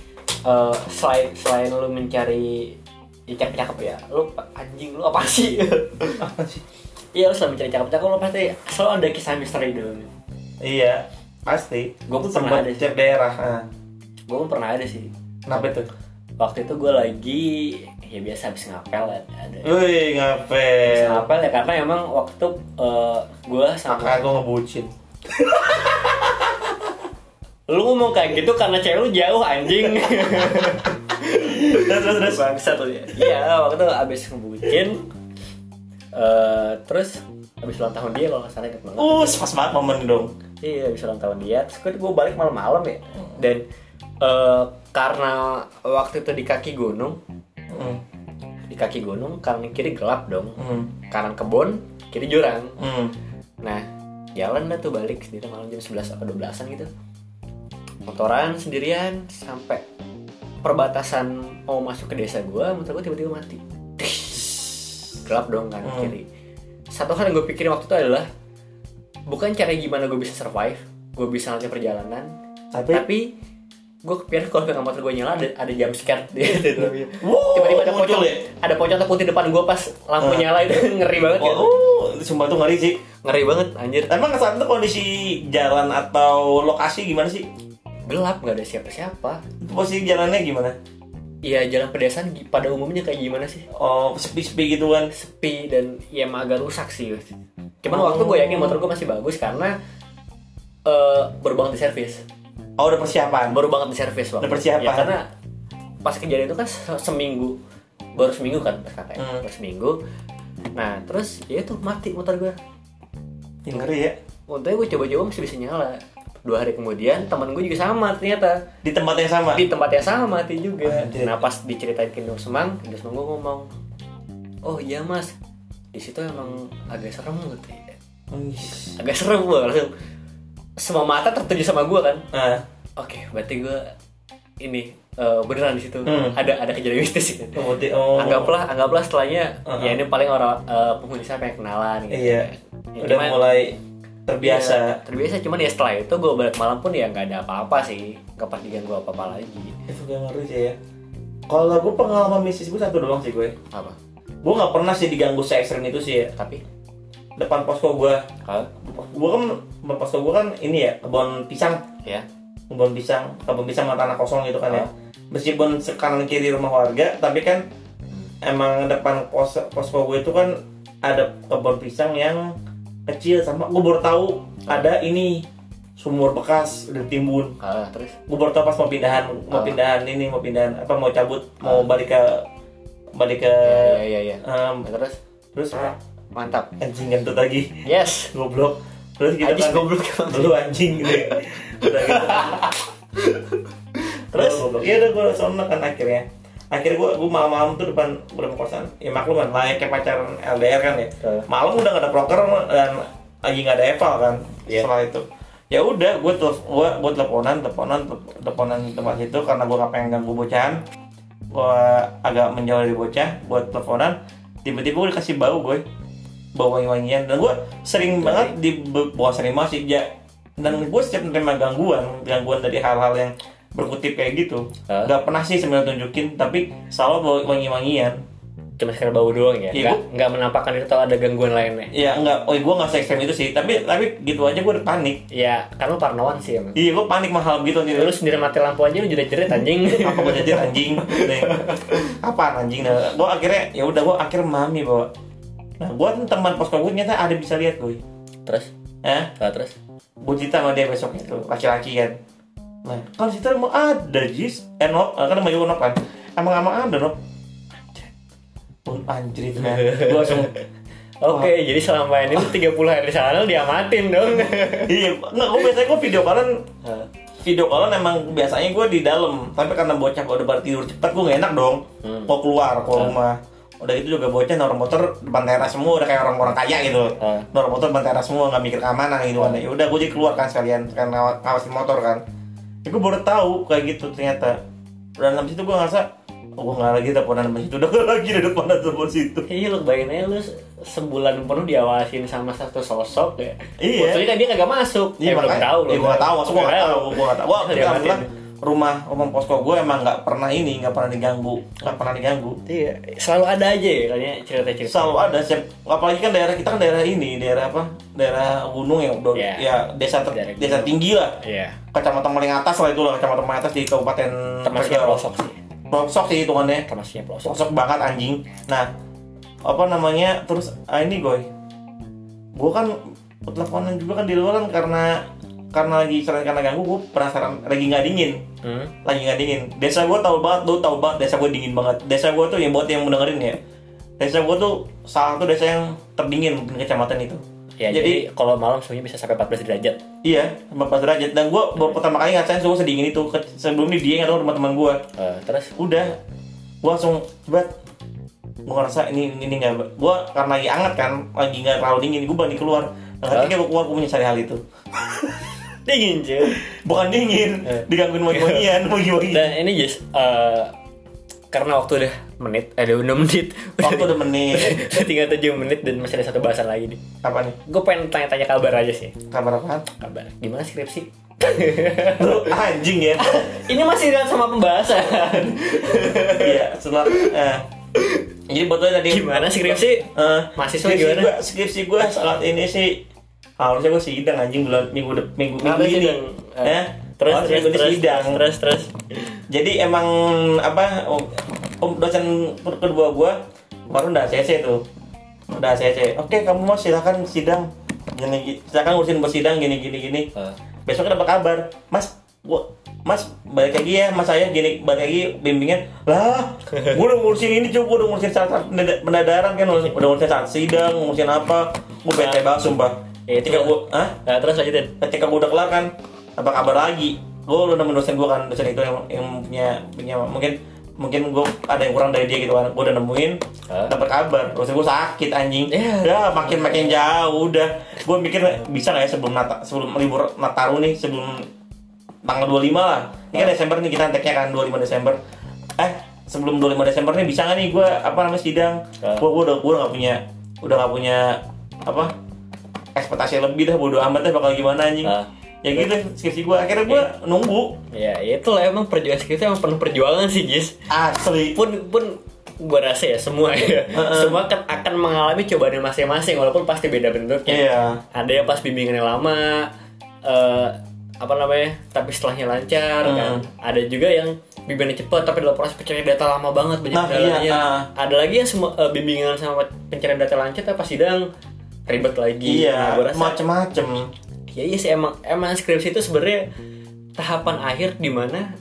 Speaker 1: eh, selain selain lu mencari ya, cakep cakep ya, lu pa- anjing lu apa sih?
Speaker 2: Apa sih?
Speaker 1: Iya lu selalu mencari cakep cakep, lu pasti selalu ada kisah misteri dulu.
Speaker 2: Iya pasti.
Speaker 1: Gua pun pernah
Speaker 2: Sempat
Speaker 1: ada
Speaker 2: tiap daerah. ah.
Speaker 1: Gue pun pernah ada sih.
Speaker 2: Kenapa itu?
Speaker 1: Waktu itu gue lagi ya biasa habis ngapel ada. ada. Habis
Speaker 2: Wih ngapel.
Speaker 1: ngapel ya karena emang waktu gue sama
Speaker 2: Kakak gue ngebucin.
Speaker 1: lu ngomong kayak gitu karena cewek lu jauh
Speaker 2: *laughs*
Speaker 1: anjing.
Speaker 2: *laughs* Terus terus terus.
Speaker 1: Bangsat lu ya. Iya, waktu itu abis ngebucin eh, terus abis ulang tahun dia kalau nggak salah inget banget.
Speaker 2: Uh, pas banget momen dong.
Speaker 1: Iya bisa ulang tahun dia. Terus gue, gue balik malam-malam ya. Dan eh, karena waktu itu di kaki gunung,
Speaker 2: Hmm.
Speaker 1: di kaki gunung kanan kiri gelap dong.
Speaker 2: Hmm.
Speaker 1: Kanan kebun, kiri jurang.
Speaker 2: Hmm.
Speaker 1: Nah jalan dah tuh balik sendiri malam jam 11 atau 12an gitu. Motoran sendirian sampai perbatasan mau masuk ke desa gue, motor gue tiba-tiba mati. gelap dong kanan
Speaker 2: Hmm.
Speaker 1: kiri. Satu hal yang gue pikirin waktu itu adalah bukan cara gimana gue bisa survive, gue bisa lanjut perjalanan,
Speaker 2: Tapi,
Speaker 1: tapi gue kepikiran kalau pegang motor gue nyala ada, ada jam scare di di dalamnya.
Speaker 2: Wow,
Speaker 1: tiba-tiba ada
Speaker 2: muncul
Speaker 1: pocong
Speaker 2: ya?
Speaker 1: ada pocong takut di depan gue pas lampu
Speaker 2: Ah.
Speaker 1: nyala itu ngeri banget
Speaker 2: oh,
Speaker 1: ya.
Speaker 2: uh, sumpah tuh ngeri sih.
Speaker 1: ngeri banget anjir
Speaker 2: Emang kesan tuh kondisi jalan atau lokasi gimana sih?
Speaker 1: gelap nggak ada siapa-siapa
Speaker 2: Posisi jalannya gimana?
Speaker 1: ya jalan pedesaan gi- pada umumnya kayak gimana sih
Speaker 2: Oh, sepi-sepi gitu kan.
Speaker 1: sepi dan ya emang agak rusak sih cuman
Speaker 2: Oh.
Speaker 1: waktu gue yakin motor gue masih bagus karena eh baru banget di servis
Speaker 2: Oh, udah persiapan.
Speaker 1: baru banget di servis waktu
Speaker 2: Udah persiapan.
Speaker 1: ya, karena pas kejadian itu kan se- seminggu baru seminggu kan pas katanya
Speaker 2: Hmm.
Speaker 1: baru seminggu nah terus ya itu mati motor gue
Speaker 2: Ya, ngeri ya.
Speaker 1: untungnya gue coba-coba masih bisa nyala dua hari kemudian teman gue juga sama ternyata
Speaker 2: Di tempat yang sama.
Speaker 1: di tempat yang sama mati juga
Speaker 2: Anjir.
Speaker 1: nah pas diceritain ke Induk Semang Induk Semang gue ngomong oh iya mas di situ emang agak serem gitu ya.
Speaker 2: Wih.
Speaker 1: agak serem gue langsung semua mata tertuju sama gue kan
Speaker 2: Ah,
Speaker 1: Oke, berarti gue ini eh, beneran di situ
Speaker 2: Hmm.
Speaker 1: ada ada kejadian mistis gitu.
Speaker 2: kemudian oh.
Speaker 1: Anggaplah anggaplah setelahnya
Speaker 2: Uh-uh.
Speaker 1: ya ini paling orang eh, penghuni saya pengen kenalan gitu.
Speaker 2: Iya.
Speaker 1: Ya,
Speaker 2: Udah
Speaker 1: cuman
Speaker 2: mulai
Speaker 1: Ya,
Speaker 2: terbiasa
Speaker 1: terbiasa cuman ya setelah itu gue balik malam pun ya nggak ada apa-apa sih nggak pas diganggu apa-apa lagi
Speaker 2: itu gak ngerti sih ya kalau gue pengalaman mistis gue satu doang sih gue
Speaker 1: apa
Speaker 2: gue nggak pernah sih diganggu se ekstrim itu sih ya.
Speaker 1: tapi
Speaker 2: depan posko gue
Speaker 1: kalau
Speaker 2: gue kan depan posko gue kan ini ya kebun pisang
Speaker 1: ya Oh.
Speaker 2: kebun pisang kebun pisang sama tanah kosong gitu kan ya meskipun se- kanan kiri rumah warga tapi kan emang depan pos posko gue itu kan ada kebun pisang yang kecil sama gue baru tahu ada ini sumur bekas udah timbun
Speaker 1: kalau terus
Speaker 2: gue baru tahu pas mau pindahan mau
Speaker 1: Ah.
Speaker 2: pindahan ini mau pindahan apa mau cabut mau balik ke balik ke
Speaker 1: Oh. ya ya ya, ya.
Speaker 2: em,
Speaker 1: terus
Speaker 2: terus
Speaker 1: mantap
Speaker 2: anjing kentut lagi *laughs*
Speaker 1: yes
Speaker 2: goblok terus kita
Speaker 1: Habis
Speaker 2: kan- *laughs*
Speaker 1: goblok
Speaker 2: lu anjing gitu ya. Udah gitu. terus ya udah gue sono kan akhirnya akhirnya gue gue malam-malam tuh depan gue depan kosan ya maklum kan layak kayak pacaran LDR kan ya
Speaker 1: Eh.
Speaker 2: malam udah gak ada proker dan lagi gak ada eval kan
Speaker 1: Iya.
Speaker 2: setelah itu ya udah gue tuh gue gue teleponan teleponan telep- teleponan di tempat itu karena gue gak pengen ganggu bocahan gue agak menjauh dari bocah buat teleponan tiba-tiba gue dikasih bau gue bau wangi-wangian dan gue sering banget di bawah sering banget sih Ja. dan gue setiap menerima gangguan gangguan dari hal-hal yang berkutip kayak gitu
Speaker 1: Hah?
Speaker 2: nggak pernah sih sebenarnya tunjukin tapi selalu bau wangi-wangian
Speaker 1: cuma sekedar bau doang ya
Speaker 2: Iya,
Speaker 1: nggak nggak menampakkan itu kalau ada gangguan lainnya
Speaker 2: ya nggak oh gue nggak se ekstrem itu sih tapi tapi gitu aja gue udah panik
Speaker 1: ya karena parnoan sih emang
Speaker 2: iya gue panik mahal gitu nih
Speaker 1: Ya, lu sendiri mati lampu aja lu jerit-jerit anjing
Speaker 2: *laughs* apa gue jadi anjing Nih. apaan anjing nah, gue akhirnya ya udah gue akhirnya memahami bahwa nah gue teman posko gue ternyata ada bisa lihat gue
Speaker 1: terus
Speaker 2: Hah?
Speaker 1: ah, terus
Speaker 2: gue cerita sama dia besok itu laki-laki kan nah kalau cerita emang ada jis eh Nob, eh, kan namanya gue Nob kan emang emang ada Nob Anjir. pun anjir itu kan gue langsung
Speaker 1: Oke, jadi selama ini lu 30 hari di sana lu diamatin
Speaker 2: *laughs*
Speaker 1: dong.
Speaker 2: iya nggak gue biasanya gue video callan video callan emang biasanya gue di dalam tapi karena bocah udah bar tidur cepat gue gak enak dong
Speaker 1: Hmm.
Speaker 2: mau keluar ke
Speaker 1: Ah.
Speaker 2: rumah udah itu juga bocah naruh motor depan teras semua udah kayak orang-orang kaya gitu
Speaker 1: Ah.
Speaker 2: naruh motor depan teras semua nggak mikir keamanan gitu kan ya udah gue jadi keluar kan sekalian kan ngaw- ngawasin motor kan ya, gue baru tahu kayak gitu ternyata dan habis itu gue ngerasa oh, gue nggak lagi teleponan sama situ *laughs* udah nggak lagi di depan telepon situ
Speaker 1: Iya lu bayangin aja lu se- sebulan penuh diawasin sama satu sosok ya.
Speaker 2: Iya.
Speaker 1: Maksudnya kan dia kagak masuk.
Speaker 2: Iya,
Speaker 1: Eh, belum
Speaker 2: makanya-
Speaker 1: tahu lu.
Speaker 2: Iya, gua nggak tahu, maksud gua nggak
Speaker 1: Iya.
Speaker 2: tahu, gua nggak tahu. Wah,
Speaker 1: Dia matiin.
Speaker 2: alhamdulillah rumah rumah posko gue emang nggak pernah ini, nggak pernah diganggu, nggak pernah diganggu.
Speaker 1: Iya, selalu ada aja ya kayaknya cerita-cerita.
Speaker 2: Selalu ada siap, apalagi kan daerah kita kan daerah ini, daerah apa? Daerah gunung yang udah
Speaker 1: Iya.
Speaker 2: ya desa ter-
Speaker 1: Daerah
Speaker 2: desa
Speaker 1: gunung.
Speaker 2: tinggi lah.
Speaker 1: Iya.
Speaker 2: Kecamatan paling atas lah itu lah, kecamatan paling atas di Kabupaten
Speaker 1: Termasuknya
Speaker 2: Tegal.
Speaker 1: pelosok sih.
Speaker 2: Pelosok sih hitungannya.
Speaker 1: Termasuknya pelosok.
Speaker 2: Sosok banget anjing. Nah, apa namanya? Terus ah, ini gue, gue kan teleponan juga kan di luar kan karena karena lagi sering karena ganggu gue penasaran lagi nggak dingin
Speaker 1: Hmm.
Speaker 2: lagi nggak dingin desa gue tahu banget lu tahu banget desa gue dingin banget desa gue tuh yang buat yang mendengarin ya desa gue tuh salah satu desa yang terdingin mungkin kecamatan itu
Speaker 1: Ya,
Speaker 2: Jadi-
Speaker 1: jadi, kalau malam suhunya bisa sampai 14 derajat.
Speaker 2: iya bapak derajat dan gue baru pertama kali ngasain suhu sedingin itu Ke- sebelumnya dia nggak tahu teman-teman gue
Speaker 1: Eh, terus
Speaker 2: udah gue langsung cepat gue ngerasa ini ini nggak gue karena lagi hangat kan lagi nggak terlalu dingin gue berani keluar dan ketika gue keluar gue menyesali hal itu
Speaker 1: dingin cuy.
Speaker 2: bukan dingin
Speaker 1: Eh.
Speaker 2: digangguin wangi-wangian
Speaker 1: *laughs*
Speaker 2: wangi-wangi
Speaker 1: Dan ini just eh, karena waktu udah menit, eh, udah 6 menit. *laughs*
Speaker 2: waktu udah menit
Speaker 1: tinggal 7 menit dan masih ada satu bahasan lagi nih.
Speaker 2: apa nih
Speaker 1: Gue pengen tanya-tanya kabar aja sih.
Speaker 2: kabar apaan
Speaker 1: Kabar. Gimana skripsi?
Speaker 2: lu anjing ya
Speaker 1: *laughs* Ini masih relate sama pembahasan.
Speaker 2: iya setelah eh. jadi buat lo tadi
Speaker 1: *laughs* Gimana skripsi?
Speaker 2: Eh,
Speaker 1: Mahasiswa
Speaker 2: skripsi
Speaker 1: gimana?
Speaker 2: gua- skripsi gue saat ini sih harusnya gue sidang anjing bulan minggu de, minggu minggu ini Eh,
Speaker 1: Terus, terus,
Speaker 2: harusnya gue
Speaker 1: oh, terus,
Speaker 2: sidang
Speaker 1: terus, terus.
Speaker 2: jadi emang apa om, om dosen kedua gua baru udah ACC tuh udah ACC oke kamu mas silakan sidang gini, gini silakan ngurusin buat sidang gini gini gini
Speaker 1: Ah.
Speaker 2: besok dapat kabar mas gua mas balik lagi ya mas saya gini balik lagi bimbingan lah gua udah ngurusin ini cukup udah ngurusin saat saat pendada- pendadaran kan udah ngurusin saat sidang ngurusin apa gua bete banget sumpah
Speaker 1: Ya, itu
Speaker 2: ketika
Speaker 1: lah.
Speaker 2: gua ah
Speaker 1: Nah, terus lanjutin.
Speaker 2: ketika gue udah kelar kan apa kabar lagi gue udah nemuin dosen gue kan dosen itu yang yang punya punya mungkin mungkin gue ada yang kurang dari dia gitu kan gue udah nemuin
Speaker 1: Hah?
Speaker 2: dapat kabar dosen gue sakit anjing
Speaker 1: Ya.
Speaker 2: ya makin makin jauh udah gue mikir bisa nggak ya sebelum nata, sebelum libur nataru nih sebelum tanggal 25 lah ini kan Desember nih kita nteknya kan 25 Desember eh sebelum 25 Desember nih bisa nggak nih gue apa namanya sidang
Speaker 1: Hah?
Speaker 2: gue gue udah gue udah nggak punya udah nggak punya apa ekspektasi lebih dah bodo amat deh bakal gimana anjing
Speaker 1: Ah.
Speaker 2: ya gitu skripsi gue akhirnya gue nunggu
Speaker 1: ya itulah emang perjuangan skripsi emang penuh perjuangan sih Jis
Speaker 2: asli
Speaker 1: pun pun gue rasa ya semua ya
Speaker 2: Iya.
Speaker 1: *laughs* semua kan akan mengalami cobaan yang masing-masing walaupun pasti beda bentuknya
Speaker 2: iya
Speaker 1: ada yang pas bimbingannya lama eh, apa namanya tapi setelahnya lancar
Speaker 2: Hmm.
Speaker 1: kan ada juga yang bimbingannya cepat tapi dalam proses pencarian data lama banget banyak
Speaker 2: Nah, iya,
Speaker 1: kendalanya.
Speaker 2: nah.
Speaker 1: ada lagi yang semua eh, bimbingan sama pencarian data lancar tapi pas sidang ribet lagi
Speaker 2: iya
Speaker 1: Nah, gua rasa
Speaker 2: macem-macem
Speaker 1: ya iya sih emang emang skripsi itu sebenarnya tahapan akhir di mana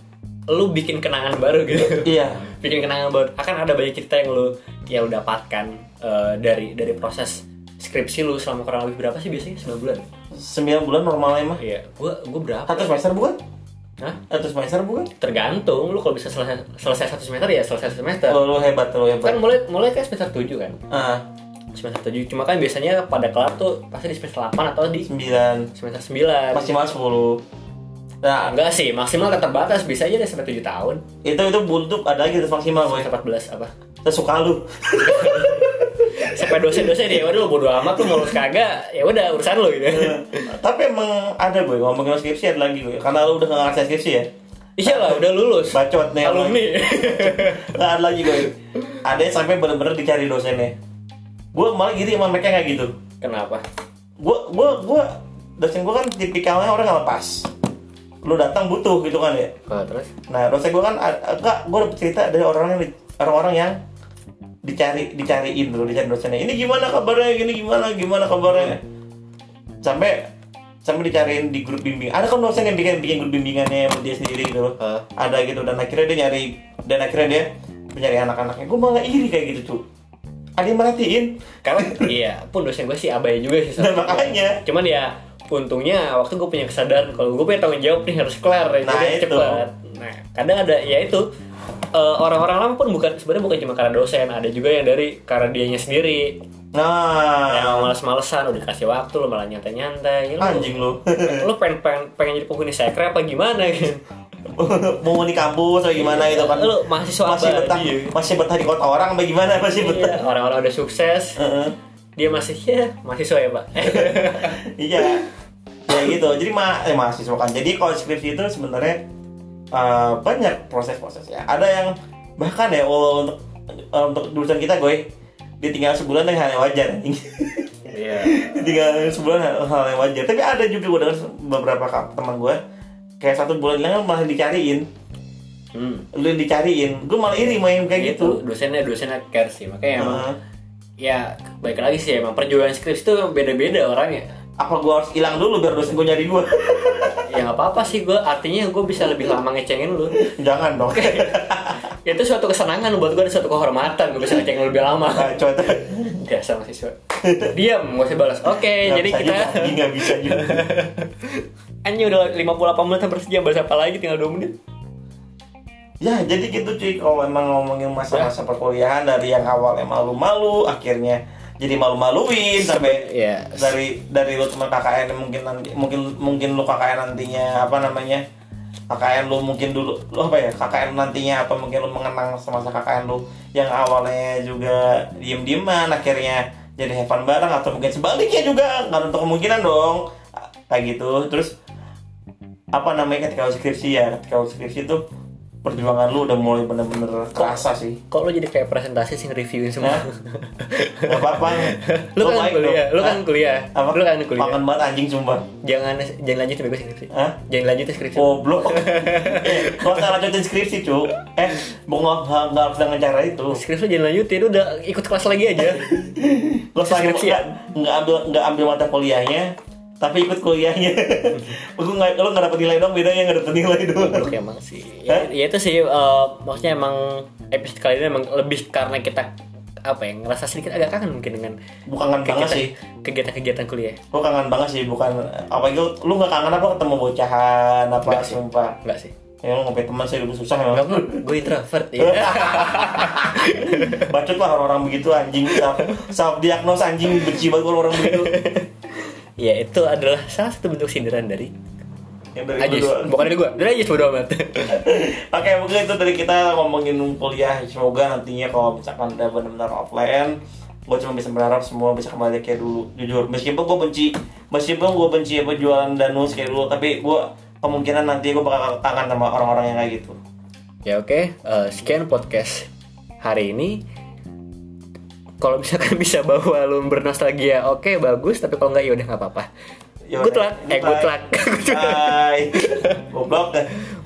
Speaker 1: lu bikin kenangan baru
Speaker 2: *laughs*
Speaker 1: gitu
Speaker 2: iya
Speaker 1: bikin kenangan baru akan ada banyak cerita yang lu ya lu dapatkan eh, dari dari proses skripsi lu selama kurang lebih berapa sih biasanya 9 bulan
Speaker 2: 9 bulan normalnya mah
Speaker 1: iya gua gua berapa
Speaker 2: satu semester bukan
Speaker 1: Hah?
Speaker 2: satu semester bukan
Speaker 1: tergantung lu kalau bisa selesai selesai satu semester ya selesai satu semester
Speaker 2: Oh, lu hebat lu hebat
Speaker 1: kan mulai mulai kan semester 7 kan
Speaker 2: ah
Speaker 1: semester 7 cuma kan biasanya pada kelar tuh pasti di semester 8 atau di
Speaker 2: sembilan
Speaker 1: semester 9
Speaker 2: maksimal sepuluh nah
Speaker 1: enggak sih maksimal terbatas bisa aja deh sampai 7 tahun
Speaker 2: itu itu butuh ada lagi terus maksimal gue
Speaker 1: sampai 14 apa
Speaker 2: sesuka
Speaker 1: *laughs*
Speaker 2: lu
Speaker 1: sampai dosen-dosen ya udah lu bodo amat lu mau lulus kagak ya udah urusan lu gitu
Speaker 2: tapi emang ada gue ngomongin skripsi ada lagi gue karena lu udah nggak ngasih skripsi ya
Speaker 1: iya lah udah lulus
Speaker 2: bacot nih emang.
Speaker 1: alumni
Speaker 2: Nggak ada lagi gue ada yang sampai bener-bener dicari dosennya gue malah gitu emang mereka nggak gitu
Speaker 1: *laughs* kenapa
Speaker 2: gue gue gue dosen gue kan tipikalnya orang nggak lepas lu datang butuh gitu kan ya
Speaker 1: Nah, terus
Speaker 2: nah dosen gue kan enggak gue dapet cerita dari orang yang orang-orang yang dicari dicariin dulu dicari dosennya ini gimana kabarnya gini gimana gimana kabarnya sampai sampai dicariin di grup bimbing ada kan dosen yang bikin bikin grup bimbingannya buat dia sendiri gitu loh
Speaker 1: Hah?
Speaker 2: ada gitu dan akhirnya dia nyari dan akhirnya dia mencari anak-anaknya gue malah iri kayak gitu tuh ada yang merhatiin
Speaker 1: karena iya pun dosen gue sih abai juga sih
Speaker 2: Nah,
Speaker 1: sama gua.
Speaker 2: *laughs* makanya.
Speaker 1: cuman ya untungnya waktu gue punya kesadaran kalau gue punya tanggung jawab nih harus kelar ya,
Speaker 2: Nah,
Speaker 1: jadi
Speaker 2: itu.
Speaker 1: cepat nah kadang ada ya itu eh, orang-orang lama pun bukan sebenarnya bukan cuma karena dosen ada juga yang dari karena dianya sendiri
Speaker 2: nah
Speaker 1: yang malas-malesan udah kasih waktu lo malah nyantai-nyantai ya, lu-
Speaker 2: anjing lu *laughs*
Speaker 1: lu pengen, pengen pengen jadi penghuni sekre apa gimana gitu
Speaker 2: mau di kampus atau gimana gitu kan
Speaker 1: Lu mahasiswa
Speaker 2: masih
Speaker 1: abadi,
Speaker 2: betah
Speaker 1: ya.
Speaker 2: masih betah di kota orang apa gimana *laughs* masih betah
Speaker 1: Iya, orang-orang udah sukses
Speaker 2: Heeh.
Speaker 1: dia masih *laughs* ya mahasiswa ya
Speaker 2: *laughs*
Speaker 1: pak
Speaker 2: iya ya gitu jadi ma eh, mahasiswa kan jadi kalau skripsi itu sebenarnya eh, banyak proses-proses ya ada yang bahkan ya walau untuk eh, untuk jurusan kita gue ditinggal sebulan yang hal yang wajar *laughs*
Speaker 1: iya
Speaker 2: ditinggal sebulan hal, hal yang wajar tapi ada juga gue dengar beberapa ka- teman gue kayak satu bulan hilang malah dicariin
Speaker 1: hmm.
Speaker 2: lu yang dicariin gue malah iri main kayak
Speaker 1: gitu
Speaker 2: gitu Ah.
Speaker 1: dosennya dosennya care sih makanya emang
Speaker 2: Heeh.
Speaker 1: ya baik lagi sih emang perjuangan skripsi itu beda-beda orangnya
Speaker 2: apa gue harus hilang dulu biar dosen gue nyari gue *laughs*
Speaker 1: ya nggak apa-apa sih gue artinya gue bisa lebih lama ngecengin lu
Speaker 2: jangan dong
Speaker 1: itu suatu kesenangan buat gue dan suatu kehormatan gue bisa ngecengin lu lebih lama *laughs*
Speaker 2: *laughs* Nah, coba
Speaker 1: biasa mahasiswa diam gak usah balas oke jadi kita
Speaker 2: nggak bisa juga
Speaker 1: *laughs* anjing udah 58 menit hampir sejam balas apa lagi tinggal 2 menit
Speaker 2: ya jadi gitu cuy kalau emang ngomongin masa-masa perkuliahan dari yang awalnya malu-malu akhirnya jadi malu-maluin sampai
Speaker 1: ya
Speaker 2: dari dari lu teman KKN mungkin nanti mungkin mungkin lu KKN nantinya apa namanya KKN lu mungkin dulu lu apa ya KKN nantinya apa mungkin lu mengenang semasa KKN lu yang awalnya juga diem-dieman akhirnya jadi have fun bareng atau mungkin sebaliknya juga nggak untuk kemungkinan dong kayak gitu terus apa namanya ketika lu skripsi ya ketika lu skripsi tuh perjuangan lu udah mulai bener-bener kerasa sih
Speaker 1: kok lu jadi kayak presentasi sih nge-reviewin semua
Speaker 2: Hah? Gak apa-apa
Speaker 1: *laughs* lu kan
Speaker 2: baik
Speaker 1: kuliah
Speaker 2: dong.
Speaker 1: lu kan
Speaker 2: Hah?
Speaker 1: kuliah
Speaker 2: apa?
Speaker 1: lu kan kuliah
Speaker 2: Kangen banget anjing sumpah
Speaker 1: jangan jangan lanjut bego skripsi
Speaker 2: Hah? Oh.
Speaker 1: jangan lanjut skripsi *laughs*
Speaker 2: Goblok Eh, Gak usah lanjutin skripsi cu Eh Bunga nggak harus dengan cara itu
Speaker 1: skripsi jangan lanjutin udah ikut kelas lagi
Speaker 2: *laughs*
Speaker 1: aja
Speaker 2: Gak usah
Speaker 1: Skripsi ya?
Speaker 2: nggak nggak ambil nggak ambil mata kuliahnya Tapi
Speaker 1: *laughs*
Speaker 2: ikut kuliahnya Lu nggak Lu nggak dapet nilai dong Bedanya nggak dapet nilai dong
Speaker 1: Goblok emang sih ya, ya itu sih eh, maksudnya emang episode kali ini emang lebih karena kita apa ya ngerasa sedikit agak kangen mungkin dengan
Speaker 2: Gue kangen banget sih
Speaker 1: kegiatan- kegiatan-kegiatan kuliah
Speaker 2: Gue kangen banget sih Bukan Apa itu Lu nggak kangen apa ketemu bocahan Apa
Speaker 1: Nggak sih.
Speaker 2: sumpah
Speaker 1: enggak sih
Speaker 2: Ya lu ngopi teman sih lebih susah memang
Speaker 1: enggak pun gue introvert
Speaker 2: *laughs*
Speaker 1: ya
Speaker 2: Bacot lah orang-orang begitu anjing Self, self diagnos anjing Benci banget gua orang begitu
Speaker 1: ya itu adalah salah satu bentuk sindiran dari
Speaker 2: Yang dari
Speaker 1: Ajis
Speaker 2: kedua.
Speaker 1: bukan dari gue dari Ajis bodo amat
Speaker 2: *laughs* Oke, mungkin itu dari kita ngomongin kuliah. Semoga nantinya kalau misalkan udah benar-benar offline, gue cuma bisa berharap semua bisa kembali kayak dulu jujur meskipun gue benci meskipun gue benci penjualan danus kayak dulu tapi gue kemungkinan nanti gue bakal kangen sama orang-orang yang kayak gitu
Speaker 1: Ya oke, eh, sekian podcast hari ini. Kalau misalkan *laughs* bisa bawa lu bernostalgia, oke bagus. Tapi kalau nggak ya udah nggak apa-apa.
Speaker 2: Ya
Speaker 1: *laughs* Good *laughs*
Speaker 2: udah,
Speaker 1: luck, eh good luck.
Speaker 2: Bye. Goblok deh.